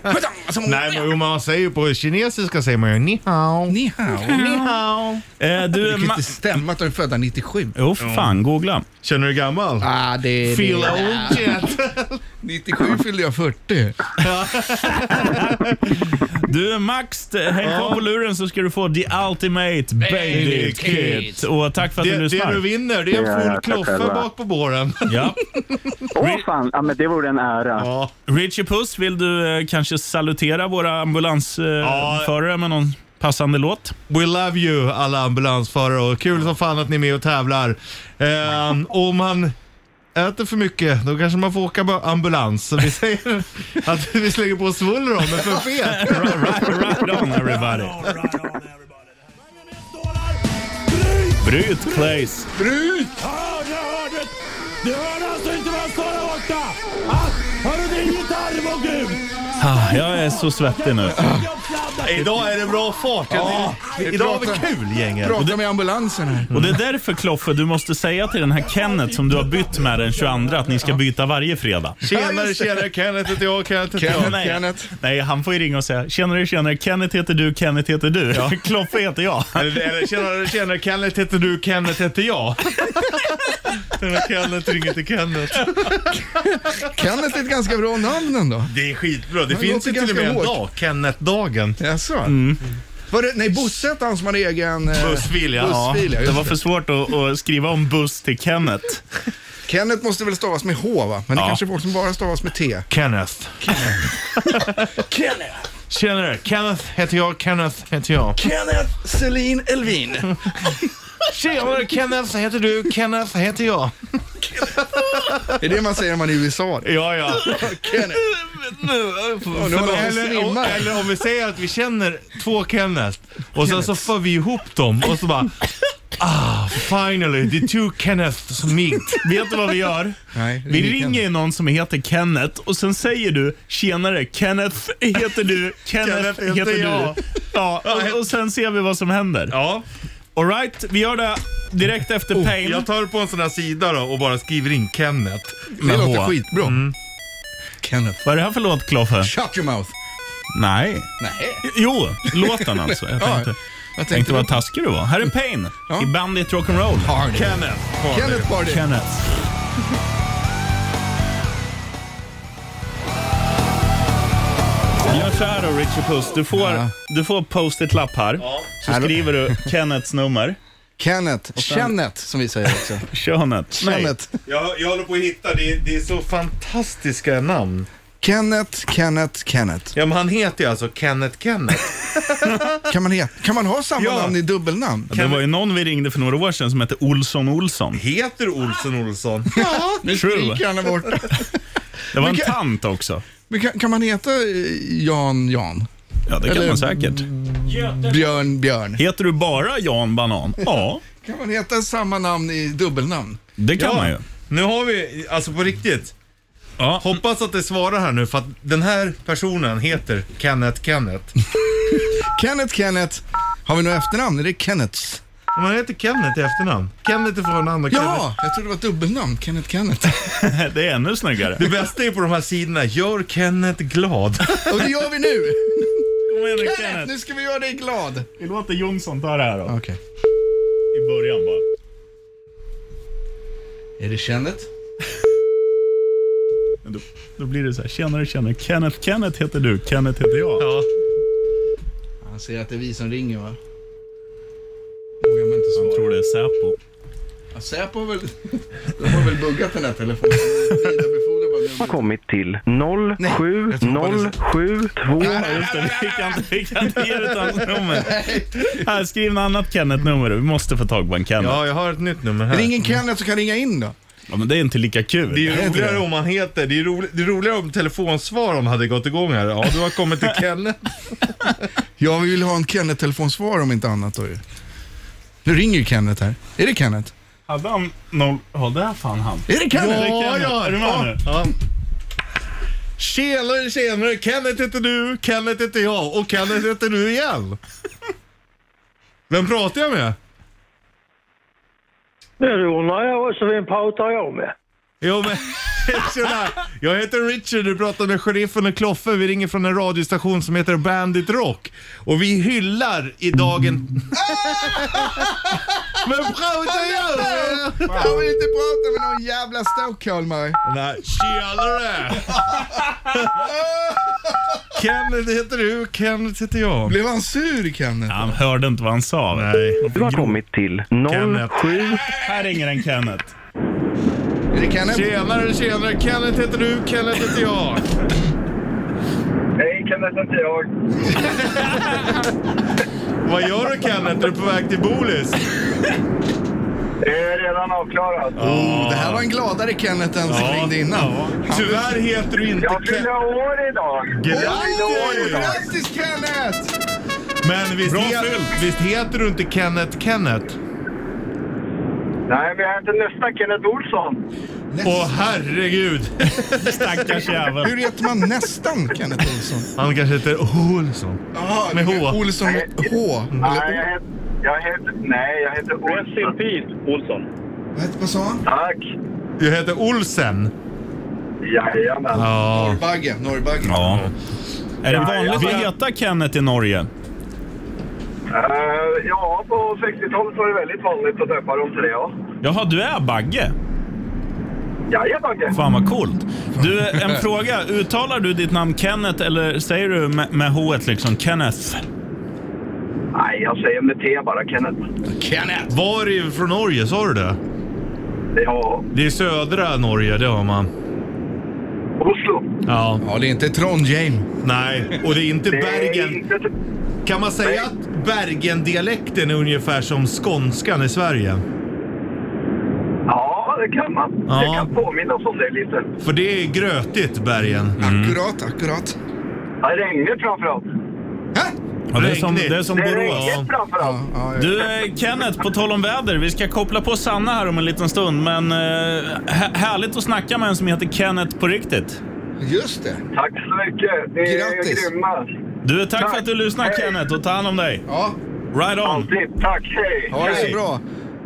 [SPEAKER 3] Nej, men jo, man säger ju på kinesiska säger man ju ni hao.
[SPEAKER 4] Ni hao.
[SPEAKER 3] Ni hao.
[SPEAKER 2] Eh, du,
[SPEAKER 4] Det kan
[SPEAKER 2] ma-
[SPEAKER 4] inte stämma att de är födda 97.
[SPEAKER 2] Jo, för fan, googla.
[SPEAKER 3] Känner du dig gammal?
[SPEAKER 4] Ah, det är
[SPEAKER 3] Feel
[SPEAKER 4] det.
[SPEAKER 3] old yet?
[SPEAKER 4] 97 fyllde jag 40.
[SPEAKER 2] Du Max, t- häng på på luren så ska du få The Ultimate Baby Kit. Och tack för att du
[SPEAKER 3] Det, det
[SPEAKER 2] lyssnar.
[SPEAKER 3] du vinner, det är
[SPEAKER 7] Ja,
[SPEAKER 3] en
[SPEAKER 7] ja,
[SPEAKER 3] full
[SPEAKER 7] tack
[SPEAKER 3] kloffe
[SPEAKER 7] själva.
[SPEAKER 3] bak på båren. [laughs]
[SPEAKER 2] ja.
[SPEAKER 7] Åh fan, ja, men det vore en ära.
[SPEAKER 3] Ja.
[SPEAKER 2] Richie Puss, vill du eh, kanske salutera våra ambulansförare
[SPEAKER 3] Ja.
[SPEAKER 2] eh, förare med någon passande låt?
[SPEAKER 3] We love you alla ambulansförare och kul som fan att ni är med och tävlar. Ehm, om man äter för mycket, då kanske man får åka med ambulans. Så vi säger [laughs] att vi slänger på svuller om men för fet.
[SPEAKER 2] right, right on everybody. Bryt Claes.
[SPEAKER 4] Brut!
[SPEAKER 1] Hörde, hörde! Du hörde alltså inte vad jag sa där borta! Ah, Hörru din gitarr var grym!
[SPEAKER 2] Ah, jag är så svettig nu.
[SPEAKER 3] Idag är det bra fart. Idag har vi kul gänget.
[SPEAKER 4] Prata med ambulansen här.
[SPEAKER 2] Och Det är därför Kloffe, du måste säga till den här Kenneth som du har bytt med den 22 att ni ska byta varje fredag.
[SPEAKER 3] Tjenare, tjenare. Kenneth heter jag, Kenneth heter jag.
[SPEAKER 4] Kenneth.
[SPEAKER 2] Nej. Nej, han får ju ringa och säga “Tjenare, tjenare, Kenneth heter du, Kenneth heter du, [laughs] Kloffe heter jag”.
[SPEAKER 3] Eller, eller tjenare, tjenare. Kenneth heter du, Kenneth
[SPEAKER 2] [laughs]
[SPEAKER 3] heter jag. Kenneth ringer till Kenneth.
[SPEAKER 4] Kenneth är ett ganska bra namn ändå.
[SPEAKER 3] Det är skitbra. Det
[SPEAKER 4] Han
[SPEAKER 3] finns
[SPEAKER 4] låter
[SPEAKER 3] ju till och
[SPEAKER 4] ganska
[SPEAKER 3] med en
[SPEAKER 4] hårt.
[SPEAKER 3] dag. Kenneth-dagen.
[SPEAKER 4] Jaså?
[SPEAKER 2] Mm.
[SPEAKER 4] Var det, nej, Bosse hette han som hade egen... eh,
[SPEAKER 3] Bussfil, ja.
[SPEAKER 4] Bussfil, ja.
[SPEAKER 2] Det var
[SPEAKER 4] Just det.
[SPEAKER 2] för svårt att, att skriva om buss till Kenneth.
[SPEAKER 4] Kenneth måste väl stavas med H, va? Men det
[SPEAKER 2] Ja.
[SPEAKER 4] kanske är folk som bara stavas med T.
[SPEAKER 3] Kenneth. Kenneth. Tjenare, Kenneth heter jag, Kenneth heter jag.
[SPEAKER 4] Kenneth Celine Elvin.
[SPEAKER 3] Tjenare, Kenneth heter du, Kenneth heter jag.
[SPEAKER 4] Det är det man säger när man är i USA.
[SPEAKER 3] Ja, ja.
[SPEAKER 4] Kenneth. Ja, nu har de
[SPEAKER 3] Eller, om-
[SPEAKER 4] svimmar.
[SPEAKER 3] eller om vi säger att vi känner två Kenneth och sen så för vi ihop dem och så bara Ah, finally, the two Kenneths meet.
[SPEAKER 2] Vet du vad vi gör?
[SPEAKER 4] Nej,
[SPEAKER 2] Vi
[SPEAKER 4] ring
[SPEAKER 2] ringer ju någon som heter Kenneth och sen säger du “Tjenare, Kenneth heter
[SPEAKER 3] [laughs]
[SPEAKER 2] du, Kenneth
[SPEAKER 3] Kenneth heter
[SPEAKER 2] heter
[SPEAKER 3] jag."
[SPEAKER 2] du”. Ja, och, och sen ser vi vad som händer.
[SPEAKER 3] Ja, Oh,
[SPEAKER 2] Alright, vi gör det direkt efter Pain.
[SPEAKER 3] jag tar på en sån här sida då och bara skriver in Kenneth.
[SPEAKER 4] Det
[SPEAKER 2] med
[SPEAKER 4] låter
[SPEAKER 2] H. Mm.
[SPEAKER 4] skitbra. Kenneth.
[SPEAKER 2] Vad är det här för låt, Kloffe?
[SPEAKER 4] Shut your mouth.
[SPEAKER 2] Nej.
[SPEAKER 4] Nej.
[SPEAKER 2] Jo, låten
[SPEAKER 4] [laughs]
[SPEAKER 2] alltså. Jag tänkte,
[SPEAKER 4] Jag
[SPEAKER 2] tänkte vad taskig du var. Här är Pain
[SPEAKER 4] Ja.
[SPEAKER 2] i Bandit Rock'n'Roll.
[SPEAKER 4] Party.
[SPEAKER 3] Kenneth.
[SPEAKER 4] Kenneth Party.
[SPEAKER 2] Kenneth. Gör så här då Richie Puss. Du får,
[SPEAKER 4] Ja.
[SPEAKER 2] du får post-it-lapp här. Så
[SPEAKER 4] Här då.
[SPEAKER 2] skriver du Kenneths nummer.
[SPEAKER 4] Kenneth. Kenneth, som vi säger också.
[SPEAKER 2] Könet. Nej.
[SPEAKER 4] Kenneth.
[SPEAKER 3] Jag, jag håller på att hitta, det är, det är så fantastiska namn.
[SPEAKER 4] Kenneth, Kenneth, Kenneth.
[SPEAKER 3] Ja, men han heter ju alltså Kenneth Kenneth.
[SPEAKER 4] Kan man, heta, kan man ha samma
[SPEAKER 3] Ja.
[SPEAKER 4] namn i dubbelnamn?
[SPEAKER 2] Det var ju någon vi ringde för några år sedan som hette Olsson Olsson.
[SPEAKER 3] Heter Olsson Olsson?
[SPEAKER 4] Ja, nu
[SPEAKER 2] True.
[SPEAKER 4] skriker alla bort.
[SPEAKER 2] Det var en
[SPEAKER 4] Vilka-
[SPEAKER 2] tant också.
[SPEAKER 4] Men kan, kan man heta eh, Jan Jan?
[SPEAKER 2] Ja, det kan
[SPEAKER 4] Eller-
[SPEAKER 2] man säkert.
[SPEAKER 4] Björn Björn?
[SPEAKER 2] Heter du bara Jan Banan? Ja,
[SPEAKER 4] Kan man heta samma namn i dubbelnamn?
[SPEAKER 2] det kan man ju.
[SPEAKER 3] Nu har vi, alltså på riktigt.
[SPEAKER 2] Ja.
[SPEAKER 3] Hoppas att det svarar här nu för att den här personen heter Kenneth Kenneth.
[SPEAKER 4] Kenneth, Kenneth. Har vi några efternamn? Är det Kenneths?
[SPEAKER 3] Men han heter Kenneth i efternamn. Kenneth är förnamn och Kenneth.
[SPEAKER 4] Ja, jag trodde det var ett dubbelnamn. Kenneth, Kenneth.
[SPEAKER 2] [laughs] Det är ännu snyggare.
[SPEAKER 3] Det bästa är på de här sidorna, gör Kenneth glad.
[SPEAKER 4] Och det gör vi nu.
[SPEAKER 2] Kom igen nu
[SPEAKER 4] Kenneth,
[SPEAKER 2] Kenneth.
[SPEAKER 4] nu ska vi göra dig glad.
[SPEAKER 2] Vi låter Jonsson ta det här då.
[SPEAKER 4] Okej.
[SPEAKER 2] I början bara.
[SPEAKER 4] Är det Kenneth?
[SPEAKER 2] Men Då, då blir det så här, tjenare tjenare, Kenneth, Kenneth heter du, Kenneth heter jag.
[SPEAKER 3] Ja.
[SPEAKER 4] Han ser att det är vi som ringer va? Vågar man inte
[SPEAKER 2] Jag
[SPEAKER 4] svara.
[SPEAKER 2] tror det är Säpo.
[SPEAKER 4] Ja, Säpo har väl... De har väl buggat den här telefonen. Vidarebefordrar
[SPEAKER 9] har kommit till 07072.
[SPEAKER 2] Just det, vi kan inte, vi kan inte ge ut hans nummer. Här, skriv något annat Kenneth-nummer. Vi måste få tag på en Kenneth. Ja.
[SPEAKER 3] Ja, jag har ett nytt nummer här.
[SPEAKER 4] Ring en Kenneth som kan ringa in då.
[SPEAKER 2] men det är inte lika kul.
[SPEAKER 3] Det är roligare om man heter, det är, rolig, det är roligare om telefonsvar om hade gått igång här. Ja, du har kommit [laughs] till Kenneth.
[SPEAKER 4] Ja, vi vill ha en Kenneth-telefonsvar om inte annat då ju. Nu ringer ju Kenneth här. Är det Kenneth?
[SPEAKER 2] Hade han noll... Ja, där fan han.
[SPEAKER 4] Är det Kenneth?
[SPEAKER 3] Ja, ja,
[SPEAKER 2] Är du med nu?
[SPEAKER 3] ja. Tjenare, tjenare, Kenneth heter du, Kenneth heter jag och Kenneth heter du igen. Vem pratar jag med?
[SPEAKER 7] Det undrar jag också, vem pratar jag med?
[SPEAKER 3] Jo men, [laughs] tjena. Jag heter Richard, du pratar med sheriffen och Kloffe. Vi ringer från en radiostation som heter Bandit Rock. Och vi hyllar i dagen...
[SPEAKER 2] [laughs]
[SPEAKER 3] Men pratar jag med?
[SPEAKER 4] Jag vill inte prata med någon jävla stockholmare.
[SPEAKER 3] Nej,
[SPEAKER 2] [laughs]
[SPEAKER 3] tjenare! Kenneth heter du, Kenneth heter jag.
[SPEAKER 4] Blev han sur Kenneth?
[SPEAKER 2] Han hörde inte vad han sa. Nej.
[SPEAKER 9] Du har kommit till 07...
[SPEAKER 2] Här ringer en Kenneth.
[SPEAKER 4] Är det Kenneth?
[SPEAKER 3] Tjenare, tjenare, Kenneth heter du, Kenneth heter jag.
[SPEAKER 7] Hej, Kenneth heter jag.
[SPEAKER 3] Vad gör du Kenneth? Är du på väg till Bolis?
[SPEAKER 7] Det är redan avklarat.
[SPEAKER 4] Oh, det här var en gladare Kenneth än som ringde innan.
[SPEAKER 3] Tyvärr heter du inte
[SPEAKER 7] Jag
[SPEAKER 3] Kenneth.
[SPEAKER 7] fyller år idag.
[SPEAKER 4] Oj,
[SPEAKER 3] Grattis!
[SPEAKER 4] Grattis Kenneth!
[SPEAKER 3] Men visst, he- visst heter du inte Kenneth Kenneth?
[SPEAKER 7] Nej, men jag heter nästa Kenneth Olsson.
[SPEAKER 3] Åh herregud!
[SPEAKER 2] Stackars jävel.
[SPEAKER 4] Hur heter man nästan Kenneth Olsson?
[SPEAKER 3] Han kanske heter Olsson.
[SPEAKER 4] Jaha,
[SPEAKER 3] Med H.
[SPEAKER 4] Olsson med H.
[SPEAKER 7] Nej, jag heter... Jag heter nej, jag heter Olsson.
[SPEAKER 4] Vad hette- Vad sa han?
[SPEAKER 7] Tack.
[SPEAKER 3] Jag heter Olsen.
[SPEAKER 7] Jajamän.
[SPEAKER 3] Ja.
[SPEAKER 4] Norrbagge, Norrbagge.
[SPEAKER 2] Ja.
[SPEAKER 3] Mm.
[SPEAKER 2] Är det vanligt att heta Kenneth i Norge?
[SPEAKER 7] Eh, ja, på 60-talet var det väldigt vanligt att döpa dem till det, ja.
[SPEAKER 2] Jaha, du är Bagge?
[SPEAKER 7] Jajamän, Bagge.
[SPEAKER 2] Fan vad coolt. Du,
[SPEAKER 3] [laughs]
[SPEAKER 2] en fråga. Uttalar du ditt namn Kenneth eller säger du med, med H liksom Kenneth?
[SPEAKER 7] Nej, jag säger med T bara, Kenneth.
[SPEAKER 3] Var är från Norge? Sa du det?
[SPEAKER 7] Ja,
[SPEAKER 3] Det är södra Norge, det har man.
[SPEAKER 7] Oslo.
[SPEAKER 3] Ja.
[SPEAKER 4] Ja, det är inte Trondheim.
[SPEAKER 3] Nej, och det är inte
[SPEAKER 7] Det är
[SPEAKER 3] Bergen.
[SPEAKER 7] inte-
[SPEAKER 3] Kan man säga att Bergen-dialekten är ungefär som skånskan i Sverige?
[SPEAKER 7] Ja, det kan man.
[SPEAKER 3] Ja.
[SPEAKER 7] Det kan påminnas om det lite.
[SPEAKER 3] För det är grötigt, Bergen.
[SPEAKER 4] Akkurat, akkurat.
[SPEAKER 7] Ja, Det regnar framförallt.
[SPEAKER 4] Hä?
[SPEAKER 2] Ja, det, är som,
[SPEAKER 3] Regnigt.
[SPEAKER 2] det är som
[SPEAKER 7] Det
[SPEAKER 2] Borås.
[SPEAKER 7] regnar framförallt.
[SPEAKER 4] Ja, ja, ja.
[SPEAKER 2] Du eh, Kenneth, på tal om väder. Vi ska koppla på Sanna här om en liten stund. Men eh, hä- härligt att snacka med en som heter Kenneth på riktigt.
[SPEAKER 4] Just det.
[SPEAKER 7] Tack så mycket. Ni är
[SPEAKER 4] Grattis.
[SPEAKER 7] grymma.
[SPEAKER 2] Du, eh, tack,
[SPEAKER 7] Tack.
[SPEAKER 2] för att du lyssnar
[SPEAKER 7] Hej.
[SPEAKER 2] Kenneth och ta hand om dig.
[SPEAKER 4] Ja,
[SPEAKER 2] Right on.
[SPEAKER 7] Alltid. Tack. Hej.
[SPEAKER 4] ha det så
[SPEAKER 7] Hej.
[SPEAKER 4] bra.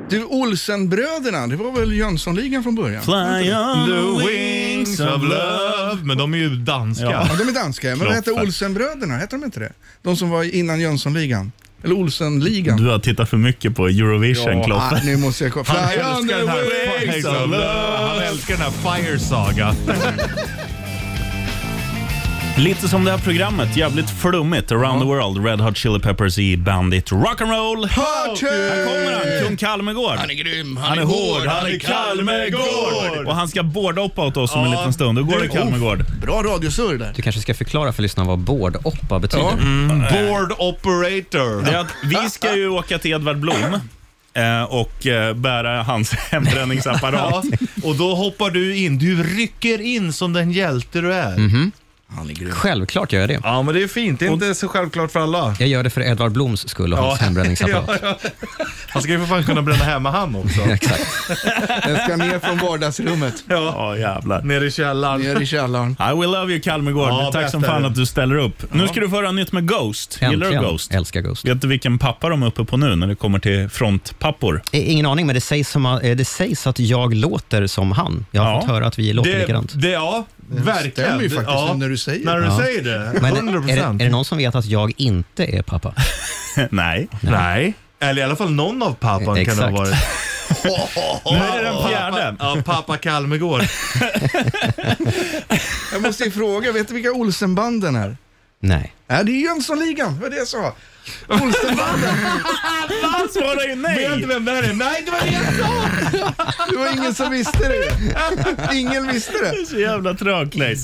[SPEAKER 4] Du, Olsenbröderna, det var väl Jönssonligan från början?
[SPEAKER 2] Fly on
[SPEAKER 3] The wings of love. Men de är ju danska.
[SPEAKER 2] Ja.
[SPEAKER 4] Ja, de är danska. Men vad hette
[SPEAKER 2] Kloffe.
[SPEAKER 4] Olsenbröderna? Hette de inte det? De som var innan Jönssonligan. Eller Olsenligan.
[SPEAKER 2] Du har tittat för mycket på Eurovision, Kloffe.
[SPEAKER 4] Ah, nu måste jag kolla.
[SPEAKER 3] Han
[SPEAKER 4] Fly on
[SPEAKER 3] älskar,
[SPEAKER 4] the
[SPEAKER 3] den här,
[SPEAKER 4] wings of
[SPEAKER 3] love. han älskar den här Fire Saga.
[SPEAKER 2] [laughs] Lite som det här programmet, jävligt flummigt. Around the world, Red Hot Chili Peppers i Bandit Rock'n'Roll. Här kommer han, kung Kalmegård.
[SPEAKER 4] Han är grym, han,
[SPEAKER 2] Han är hård, han är Kalmegård! Och han ska bårdhoppa åt oss om en liten stund. Hur går det
[SPEAKER 3] oh.
[SPEAKER 2] Kalmegård?
[SPEAKER 4] Bra radiosurr där.
[SPEAKER 10] Du kanske ska förklara för lyssnarna vad board-oppa betyder?
[SPEAKER 3] Board Operator.
[SPEAKER 2] Det är att vi ska
[SPEAKER 3] [laughs]
[SPEAKER 2] ju åka till Edvard Blom eh, och eh, bära hans
[SPEAKER 3] Ja,
[SPEAKER 2] hembränningsapparat.
[SPEAKER 3] och då hoppar du in. Du rycker in som den hjälte du är.
[SPEAKER 10] Mm.
[SPEAKER 4] Han är grym.
[SPEAKER 10] Självklart gör jag det.
[SPEAKER 3] Ja, men det är fint. Det är inte så självklart för alla.
[SPEAKER 10] Jag gör det för Edvard Bloms skull och hans hembränningsapparat.
[SPEAKER 3] Ja, ja. [laughs] Han ska ju för fan kunna bränna hemma han också.
[SPEAKER 10] Exakt.
[SPEAKER 4] Den ska ner från vardagsrummet.
[SPEAKER 2] Ja, jävlar.
[SPEAKER 3] Nere i källaren.
[SPEAKER 4] Ner i källaren.
[SPEAKER 2] I will love you Kalmegård.
[SPEAKER 3] Ja,
[SPEAKER 2] Tack
[SPEAKER 3] bäst
[SPEAKER 2] som
[SPEAKER 3] är
[SPEAKER 2] fan
[SPEAKER 3] det.
[SPEAKER 2] att du ställer upp. Nu ska du få höra nytt med Ghost. Gillar du
[SPEAKER 10] Äntligen.
[SPEAKER 2] Ghost?
[SPEAKER 10] Älskar Ghost.
[SPEAKER 2] Vet du vilken pappa de är uppe på nu när det kommer till frontpappor?
[SPEAKER 10] Eh, Ingen aning, men det sägs, som, att- eh, det sägs att jag låter som han. Jag har
[SPEAKER 2] Ja.
[SPEAKER 10] fått höra att vi låter
[SPEAKER 3] Det,
[SPEAKER 10] likadant.
[SPEAKER 3] det, ja, verkligen.
[SPEAKER 4] stämmer ju faktiskt
[SPEAKER 3] ja.
[SPEAKER 4] när du säger
[SPEAKER 3] när
[SPEAKER 4] det.
[SPEAKER 3] du
[SPEAKER 10] Ja.
[SPEAKER 3] säger det.
[SPEAKER 10] Men
[SPEAKER 3] 100
[SPEAKER 10] är det, är det någon som vet att jag inte är pappa?
[SPEAKER 2] [laughs] Nej.
[SPEAKER 3] Nej. Eller i alla fall någon av pappan
[SPEAKER 10] Exakt.
[SPEAKER 3] kan det ha varit.
[SPEAKER 2] Nu är det den fjärde.
[SPEAKER 3] Pappa, ja, pappa Kalmegård.
[SPEAKER 4] Jag måste ju fråga, vet du vilka Olsenbanden är?
[SPEAKER 10] Nej.
[SPEAKER 4] Nej, det är Jönssonligan. Vad det jag sa. Olsenbanden.
[SPEAKER 2] Han svarar ju nej.
[SPEAKER 3] Vet du [laughs] vem det här är? Nej, det var det jag sa!
[SPEAKER 4] Det var ingen som visste det. Ingen visste det.
[SPEAKER 2] Det är så jävla trögt Leif.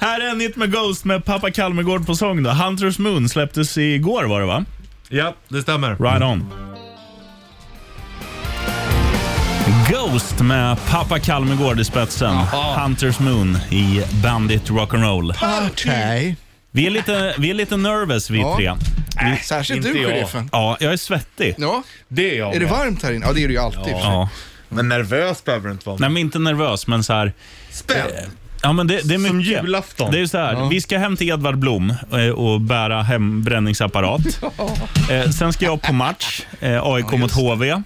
[SPEAKER 2] Här är Nytt med Ghost med pappa Kalmegård på sång. Då. Hunters Moon släpptes igår var det va?
[SPEAKER 3] Ja, det stämmer.
[SPEAKER 2] Right on. Ghost med pappa Kalmegård i spetsen. Hunters Moon i Bandit Rock'n'Roll.
[SPEAKER 4] Okej.
[SPEAKER 2] Vi är lite, vi är lite nervous vi
[SPEAKER 4] Ja.
[SPEAKER 2] tre.
[SPEAKER 4] Äh, Särskilt
[SPEAKER 3] inte
[SPEAKER 4] du,
[SPEAKER 3] jag.
[SPEAKER 4] sheriffen.
[SPEAKER 2] Ja, jag är svettig.
[SPEAKER 4] Ja.
[SPEAKER 3] Det är jag
[SPEAKER 4] Är det
[SPEAKER 3] med.
[SPEAKER 4] varmt här inne? Ja, det är det ju alltid. Ja.
[SPEAKER 2] Ja.
[SPEAKER 3] Men nervös behöver du inte vara.
[SPEAKER 2] Nej, men inte nervös, men så här.
[SPEAKER 3] Spänd.
[SPEAKER 2] Ja, men det, det är mycket.
[SPEAKER 3] Som julafton.
[SPEAKER 2] Det är ju så här, vi ska hem till Edvard Blom eh, och bära hem
[SPEAKER 3] [laughs]
[SPEAKER 2] bränningsapparat. Eh, Sen ska jag på match, eh, AIK mot HV. Eh,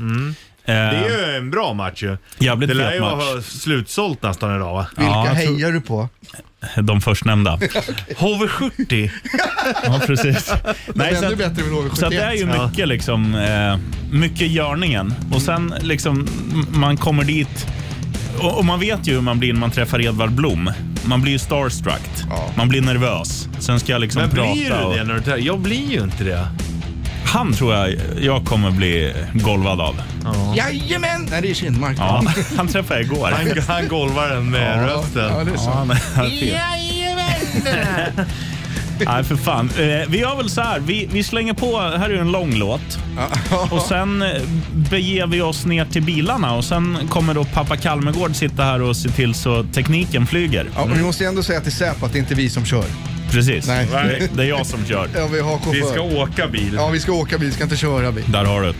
[SPEAKER 3] Mm. Det är ju en bra match ju.
[SPEAKER 2] Jävligt
[SPEAKER 3] det lär
[SPEAKER 2] fet
[SPEAKER 3] ju
[SPEAKER 2] match.
[SPEAKER 3] vara slutsålt nästan idag va?
[SPEAKER 4] Vilka
[SPEAKER 2] Ja, jag tror-
[SPEAKER 4] hejar du på?
[SPEAKER 2] De
[SPEAKER 3] [laughs]
[SPEAKER 2] förstnämnda.
[SPEAKER 3] HV70.
[SPEAKER 2] Ja,
[SPEAKER 3] [laughs]
[SPEAKER 2] precis. Nej,
[SPEAKER 4] Ännu
[SPEAKER 2] så, att,
[SPEAKER 4] bättre än
[SPEAKER 2] så att det är
[SPEAKER 4] HV71.
[SPEAKER 2] ju mycket, liksom, eh, mycket görningen. Och sen liksom, m- man kommer dit och, och man vet ju hur man blir när man träffar Edvard Blom. Man blir ju starstruck. Man blir nervös. Sen ska jag liksom
[SPEAKER 3] Men
[SPEAKER 2] prata.
[SPEAKER 3] blir du
[SPEAKER 2] och,
[SPEAKER 3] det när du tar- Jag blir ju inte det.
[SPEAKER 2] Han tror jag jag kommer bli golvad av.
[SPEAKER 4] Jajamän! Nej, det är Kindmark.
[SPEAKER 2] Ja, [laughs] han träffade jag igår.
[SPEAKER 3] Han, han golvar den med
[SPEAKER 4] ja,
[SPEAKER 3] rösten.
[SPEAKER 4] det är så.
[SPEAKER 2] Ja, men- [laughs] Nej, för fan. Eh, vi gör väl så här. Vi, vi slänger på. Här är ju en lång låt. Och sen eh, beger vi oss ner till bilarna och sen kommer då pappa Kalmegård sitta här och se till så tekniken flyger.
[SPEAKER 4] Ja, men vi måste ju ändå säga till Säpo att det är inte vi som kör.
[SPEAKER 2] Precis.
[SPEAKER 4] Nej.
[SPEAKER 2] Det, det är jag som kör.
[SPEAKER 4] Ja, vi har
[SPEAKER 3] Vi ska
[SPEAKER 4] chaufför.
[SPEAKER 3] åka bil.
[SPEAKER 4] Ja, vi ska åka bil, vi ska inte köra bil.
[SPEAKER 2] Där har du det.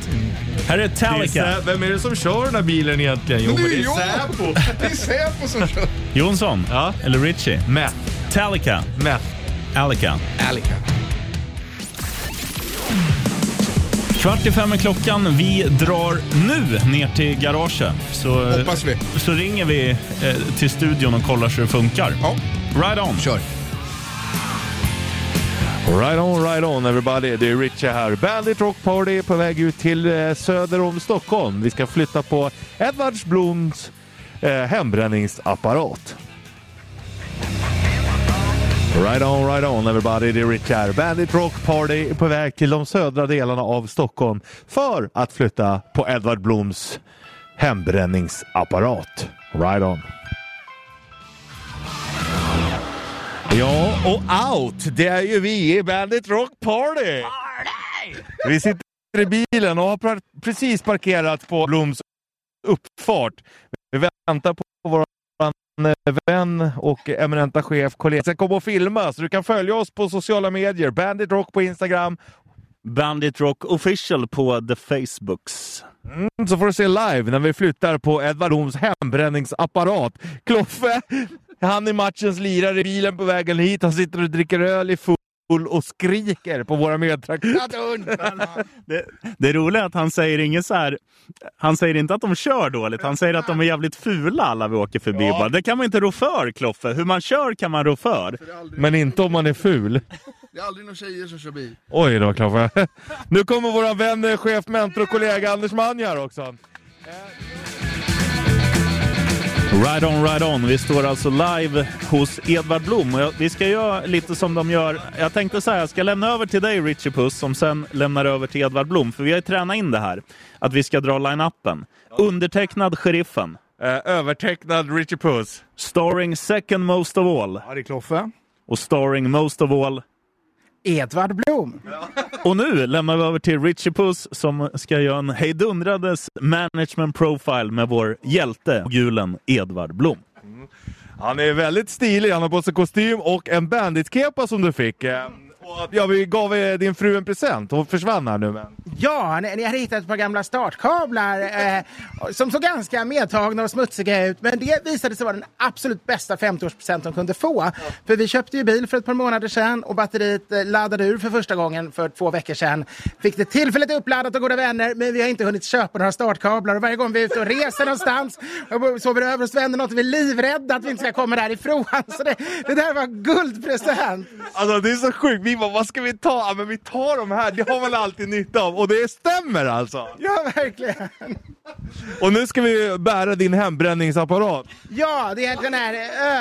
[SPEAKER 2] Här är
[SPEAKER 3] Det
[SPEAKER 2] Talica.
[SPEAKER 3] är Sä- Vem är det som kör den här bilen egentligen? Jo,
[SPEAKER 4] Men
[SPEAKER 3] men
[SPEAKER 4] det är
[SPEAKER 3] det är
[SPEAKER 4] jag.
[SPEAKER 3] Säpo.
[SPEAKER 4] Det är Säpo som kör.
[SPEAKER 2] Jonsson.
[SPEAKER 3] Ja.
[SPEAKER 2] Eller Richie.
[SPEAKER 3] Mätt,
[SPEAKER 2] Talica.
[SPEAKER 3] mätt.
[SPEAKER 2] Alica. Kvart i fem är klockan. Vi drar nu ner till garaget. Så,
[SPEAKER 4] Hoppas vi.
[SPEAKER 2] så ringer vi eh, till studion och kollar så det funkar.
[SPEAKER 4] Ja,
[SPEAKER 2] Right on.
[SPEAKER 4] kör.
[SPEAKER 3] Right on, right on everybody. Det är Richie här. Bandit Rock Party på väg ut till eh, söder om Stockholm. Vi ska flytta på Edvards Bloms eh, hembränningsapparat. Right on, right on everybody. Det är Richie här. Bandit Rock Party på väg till de södra delarna av Stockholm för att flytta på Edvard Bloms hembränningsapparat. Right on. Ja, och out, det är ju vi i Bandit Rock Party! Vi sitter i bilen och har pra- precis parkerat på Bloms uppfart. Vi väntar på vår vän och eminenta chef, kollega, ska komma och filma. Så du kan följa oss på sociala medier, Bandit Rock på Instagram.
[SPEAKER 2] Bandit Rock Official på The Facebooks.
[SPEAKER 3] Så får du se live när vi flyttar på Edvard Bloms hembränningsapparat. Kloffe, han är matchens lirare i bilen på vägen hit. Han sitter och dricker öl i full och skriker på våra medtraktorer.
[SPEAKER 2] Det, det är roligt att han säger inget så här. Han säger inte att de kör dåligt. Han säger att de är jävligt fula alla vi åker förbi. Bara, Det kan man inte rå för, Kloffe. Hur man kör kan man rå för.
[SPEAKER 3] Men inte om man är ful.
[SPEAKER 4] Det är aldrig några tjejer som kör bil.
[SPEAKER 3] Oj då Kloffe. Nu kommer våra vän, eh, chef, mentor och kollega Anders Manjar också.
[SPEAKER 2] Right on, right on. Vi står alltså live hos Edvard Blom. Och jag- Vi ska göra lite som de gör. Jag tänkte så här, jag ska lämna över till dig Richie Puss som sen lämnar över till Edvard Blom. För vi har ju tränat in det här, att vi ska dra line-upen. Undertecknad Sheriffen.
[SPEAKER 3] Eh, övertecknad Richie Puss.
[SPEAKER 2] Starring second most of all.
[SPEAKER 4] Ja, det är Kloffe.
[SPEAKER 2] Och starring most of all.
[SPEAKER 9] Edvard Blom.
[SPEAKER 2] Och nu lämnar vi över till Richie Puss som ska göra en hejdundrades management profile med vår hjälte, gulen Edvard Blom.
[SPEAKER 3] Han är väldigt stilig. Han har på sig kostym och en banditkepa som du fick. Eh, och, ja, vi gav eh, din fru en present. Hon försvann här nu. Men...
[SPEAKER 9] Ja, ni, ni hade hittat ett par gamla startkablar eh, som såg ganska medtagna och smutsiga ut. Men det visade sig vara den absolut bästa 50-årspresent de kunde få. För vi köpte ju bil för ett par månader sedan och batteriet eh, laddade ur för första gången för två veckor sedan. Fick det tillfälligt uppladdat och goda vänner, men vi har inte hunnit köpa några startkablar. Och varje gång vi är ute och reser någonstans och sover över hos vänner något, vi är livrädda att vi inte ska komma därifrån. [laughs] Så det, det där var guldpresent.
[SPEAKER 3] Alltså det är så sjukt. Vi bara, vad ska vi ta? Ja, men vi tar de här. Det har man alltid nytta av. Och det stämmer alltså.
[SPEAKER 9] Ja, verkligen.
[SPEAKER 3] Och nu ska vi bära din hembränningsapparat.
[SPEAKER 9] Ja, det är den här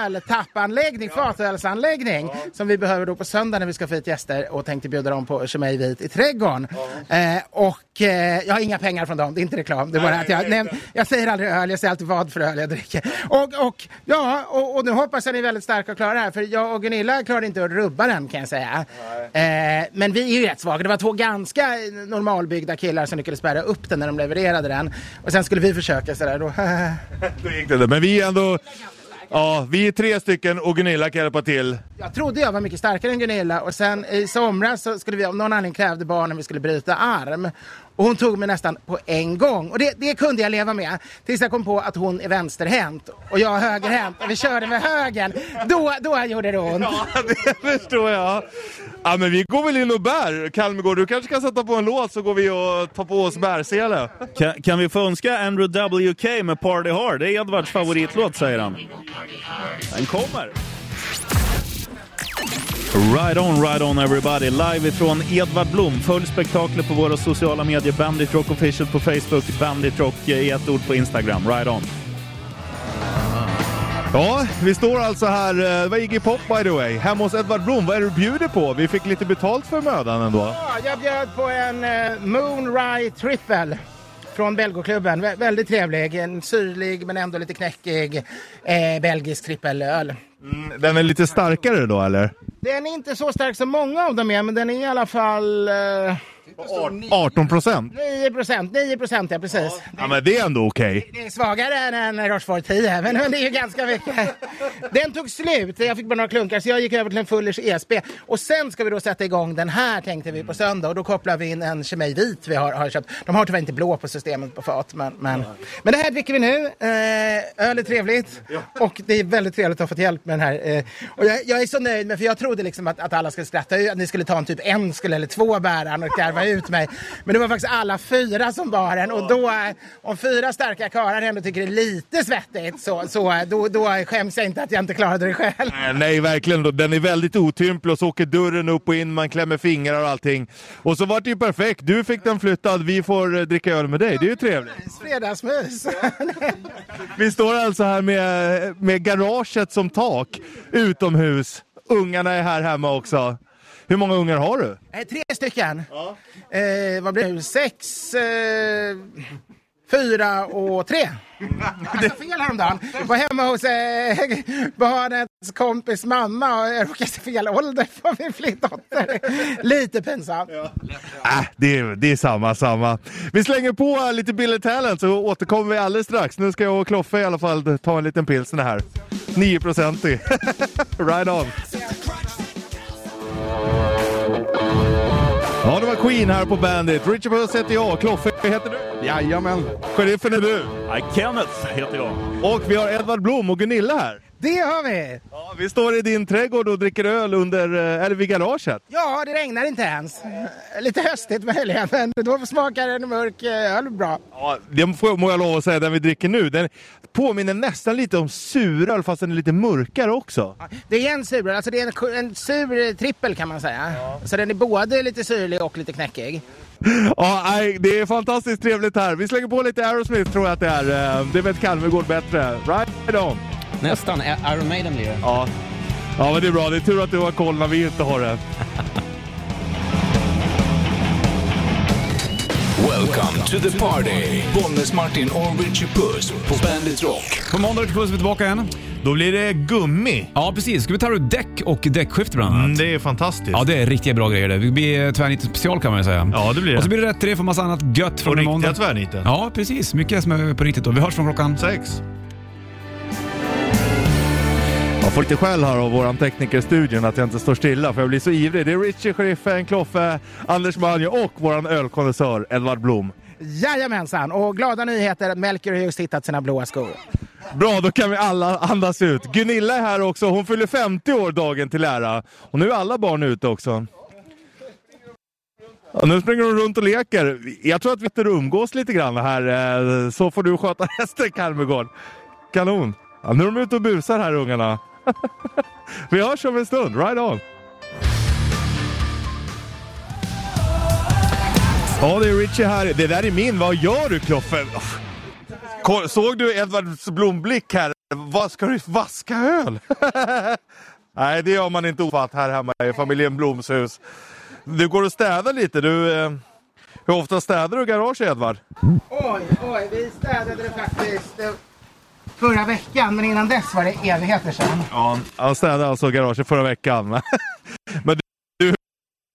[SPEAKER 9] öltappanläggning, fatölsanläggning, som vi behöver då på söndag när vi ska få hit gäster och tänkte bjuda dem på Chimay Vit i trädgården. Eh, och eh, jag har inga pengar från dem, det är inte reklam. Det är bara att jag, nej, jag säger aldrig öl, jag säger alltid vad för öl jag dricker. Och, och, ja, och, och nu hoppas jag ni är väldigt starka och klarar det här, för jag och Gunilla klarade inte att rubba den kan jag säga. Eh, men vi är ju rätt svaga. Det var två ganska normalbyggda killar som lyckades bära upp den när de levererade den. Och sen skulle vi försöka sådär då. [laughs]
[SPEAKER 3] Då gick det där. Men vi är ändå... Ja, vi är tre stycken och Gunilla kan hjälpa till.
[SPEAKER 9] Jag trodde jag var mycket starkare än Gunilla och sen i somras så skulle vi av någon anledning krävde barnen vi skulle bryta arm. Och hon tog mig nästan på en gång. Och det, det kunde jag leva med. Tills jag kom på att hon är vänsterhänt och jag är högerhänt och vi körde med högern. Då, då gjorde det ont.
[SPEAKER 3] Det [laughs] förstår jag. Ja, men vi går väl in och bär. Kalmegård, du kanske kan sätta på en låt så går vi och tar på oss bärsele.
[SPEAKER 2] Kan, kan vi få önska Andrew WK med Party Hard? Det är Edvards favoritlåt, säger han. Den kommer. Right on, right on everybody. Live ifrån Edvard Blom. Följ spektaklet på våra sociala medier. Bandit Rock Official på Facebook, Bandit Rock eh, i ett ord på Instagram. Right on.
[SPEAKER 3] Ja, vi står alltså här, eh, det var Iggy Pop by the way, hemma hos Edvard Blom. Vad är det du bjuder på? Vi fick lite betalt för mödan ändå.
[SPEAKER 9] Ja, jag bjöd på en eh, Moon Rye Triple från Belgoklubben. Vä- väldigt trevlig. En syrlig men ändå lite knäckig eh, belgisk trippelöl.
[SPEAKER 3] Den är lite starkare då eller?
[SPEAKER 9] Den är inte så stark som många av dem är, men den är i alla fall eh,
[SPEAKER 3] 18 procent?
[SPEAKER 9] 9 procent. 9 procent, ja precis.
[SPEAKER 3] Ja men det är ändå okej.
[SPEAKER 9] Det är svagare än en Rochefort 10, men, men det är ju ganska mycket. Den tog slut, jag fick bara några klunkar, så jag gick över till en Fullers ESB. Och sen ska vi då sätta igång den här tänkte vi på söndag och då kopplar vi in en Chimay vit vi har, har köpt. De har tyvärr inte blå på systemet på fat, men, men. men det här dricker vi nu. Eh, öl är trevligt och det är väldigt trevligt att ha fått hjälp med den här. Eh, och jag, jag är så nöjd med, för jag trodde liksom att, att alla skulle skratta, att ni skulle ta en typ en skulle eller två bärar och karva ut mig. Men det var faktiskt alla fyra som bar den och då, eh, om fyra starka karlar ändå tycker det är lite svettigt så, så eh, då, då skäms jag inte att jag inte klarade det själv.
[SPEAKER 3] Nej, Nej, verkligen. då. Den är väldigt otymplig och så åker dörren upp och in, man klämmer fingrar och allting. Och så vart det ju perfekt. Du fick den flyttad, vi får eh, dricka öl med dig. Det är ju trevligt.
[SPEAKER 9] Fredagsmys!
[SPEAKER 3] Vi står alltså här med, med garaget som tak, utomhus. Ungarna är här hemma också. Hur många ungar har du?
[SPEAKER 9] Eh, Tre stycken. Eh, vad blir det nu? Sex, eh, fyra och tre. Jag sa fel häromdagen. Jag var hemma hos eh, barnets kompis mamma och jag råkade se fel ålder på min flickdotter. Lite pinsamt.
[SPEAKER 3] Äh, det, är, det är samma, samma. Vi slänger på eh, lite Billy Talent så återkommer vi alldeles strax. Nu ska jag och Kloffe i alla fall ta en liten pilsner här. 9-procentig. [laughs] right on. Ja, det var Queen här på Bandit. Richard Puss heter jag. Kloffe heter du? Jajamän. Sheriffen är du?
[SPEAKER 2] Nej, Kenneth heter jag.
[SPEAKER 3] Och vi har Edvard Blom och Gunilla här.
[SPEAKER 9] Det har vi!
[SPEAKER 3] Ja, vi står i din trädgård och dricker öl under, eh, eller vid garaget.
[SPEAKER 9] Ja, det regnar inte ens. Eh, Lite höstigt möjligen, men då smakar en mörk eh, öl bra.
[SPEAKER 3] Ja, det får, må jag lov att säga, den vi dricker nu, den påminner nästan lite om suröl fast den är lite mörkare också.
[SPEAKER 9] Det är en sur, alltså det är en, ku- en sur trippel kan man säga. Så den är både lite syrlig och lite knäckig.
[SPEAKER 3] Ja, nej, det är fantastiskt trevligt här. Vi slänger på lite Aerosmith tror jag att det är. Eh, Det vet Kalmegård bättre. Right on!
[SPEAKER 10] Nästan. Ä- Iron Maiden blir det.
[SPEAKER 3] Ja. ja, men det är bra. Det är tur att du har koll när vi inte har det.
[SPEAKER 11] Welcome to the party! Bollnäs Martin och Richie Puss på Bandit Rock.
[SPEAKER 12] På måndag Richard Puss är vi tillbaka igen.
[SPEAKER 3] Då blir det gummi. Mm,
[SPEAKER 12] Ja, precis. Ska vi ta ut däck och däckskift bland annat?
[SPEAKER 3] det är fantastiskt.
[SPEAKER 12] Ja, det är riktigt bra grejer det. Det blir tvärnit special kan man ju säga.
[SPEAKER 3] Ja, det blir det.
[SPEAKER 12] Och så blir det rätt tre för massa annat gött från
[SPEAKER 3] Och
[SPEAKER 12] i
[SPEAKER 3] riktiga
[SPEAKER 12] måndag.
[SPEAKER 3] tvärniten.
[SPEAKER 12] Ja, precis. Mycket som är på riktigt då. Vi hörs från klockan...
[SPEAKER 3] Sex. Jag får lite skäll här av våran tekniker i studion att jag inte står stilla för jag blir så ivrig. Det är Richie, Sheriffen, Kloffe, Anders Manjo och våran ölkondensör Edvard Blom.
[SPEAKER 9] Jajamensan, och glada nyheter. Melker har just hittat sina blåa skor.
[SPEAKER 3] Bra, då kan vi alla andas ut. Gunilla är här också. Hon fyller 50 år dagen till ära. Och nu är alla barn ute också. Ja, nu springer hon runt och leker. Jag tror att vi sitter och umgås lite grann här, eh, så får du sköta [laughs] resten Karmegård. Kanon! Ja, nu är de ute och busar här ungarna. [laughs] vi hörs om en stund, right on! Ja, det är Richie här. Det där är min. Vad gör du Kloffe? Uff, Ko- Såg du Edvards blomblick här? Vad ska du vaska öl? [laughs] Nej, det gör man inte ofatt här hemma i familjen Bloms hus. Du går och städar lite. Du, eh, hur ofta städar du garage, Edvard?
[SPEAKER 9] Oj, oj, vi städade det faktiskt eh, förra veckan, men innan dess var det evigheter sedan.
[SPEAKER 3] Ja, han städade alltså garaget förra veckan. [laughs] Men du,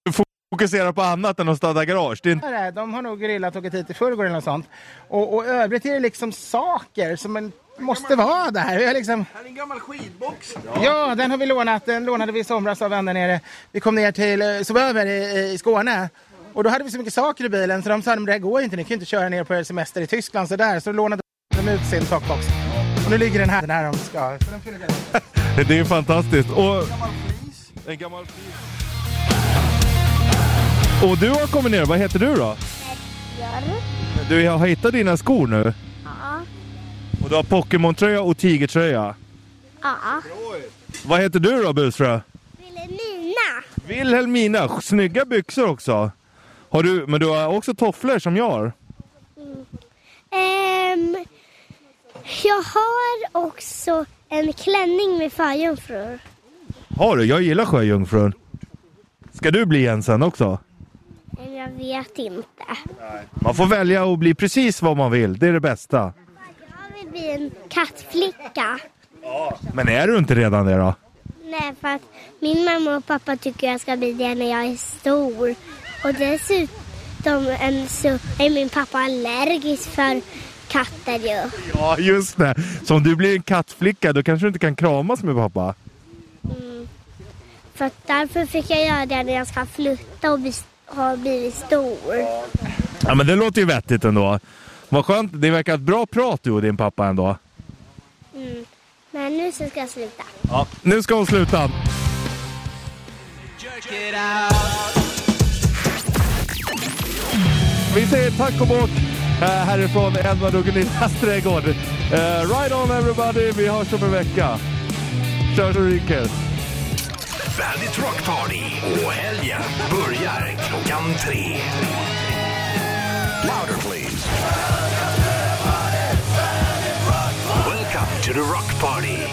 [SPEAKER 3] du fokuserar på annat än att städa garage. Det är inte-
[SPEAKER 9] Det här, De har nog grillat och åkt hit i förrgår eller något sånt. Och, och övrigt är det liksom saker som man måste vara där. Vi har liksom...
[SPEAKER 4] Här är en gammal skidbox.
[SPEAKER 9] Ja, den har vi lånat. Den lånade vi i somras av vänner nere. Vi kom ner till eh, sov över i, i Skåne. Och då hade vi så mycket saker i bilen så de sa att det här går inte, ni kan ju inte köra ner på er semester i Tyskland så där. Så då lånade de ut sin takbox. Och nu ligger den här när de ska. Så den fyller den.
[SPEAKER 3] Det är ju fantastiskt. Och, En gammal och du har kommit ner. Vad heter du då? Du jag har hittat dina skor nu.
[SPEAKER 13] Ja.
[SPEAKER 3] Och du har Pokémon-tröja och tigertröja.
[SPEAKER 13] Ja.
[SPEAKER 3] Vad heter du då busfrö?
[SPEAKER 13] Vilhelmina.
[SPEAKER 3] Wilhelmina. Snygga byxor också. Har du, men du har också tofflor som jag har.
[SPEAKER 13] Ehm, jag har också en klänning med sjöjungfrur.
[SPEAKER 3] Har du? Jag gillar sjöjungfrun. Ska du bli en sen också?
[SPEAKER 13] Men jag vet inte.
[SPEAKER 3] Man får välja att bli precis vad man vill. Det är det bästa.
[SPEAKER 13] Jag vill bli en kattflicka.
[SPEAKER 3] Men är du inte redan det då?
[SPEAKER 13] Nej, för att min mamma och pappa tycker jag ska bli det när jag är stor. Och dessutom en, så är min pappa allergisk för katter ju.
[SPEAKER 3] Ja, just det. Så om du blir en kattflicka då kanske du inte kan kramas med pappa.
[SPEAKER 13] Mm. För att därför fick jag göra det när jag ska flytta och bli, ha blivit stor.
[SPEAKER 3] Ja, men det låter ju vettigt ändå. Vad skönt. Det verkar ett bra prat du och din pappa ändå.
[SPEAKER 13] Mm. Men nu så ska jag sluta.
[SPEAKER 3] Ja. Nu ska hon sluta. Vi säger tack och bock eh, härifrån Edvard och Gunillas trädgård. Eh, Ride on everybody. Vi hörs om en vecka. Kör så det ryker.
[SPEAKER 11] Bandit Rock Party och helgen börjar klockan tre. Louder please. Welcome to the Rock Party.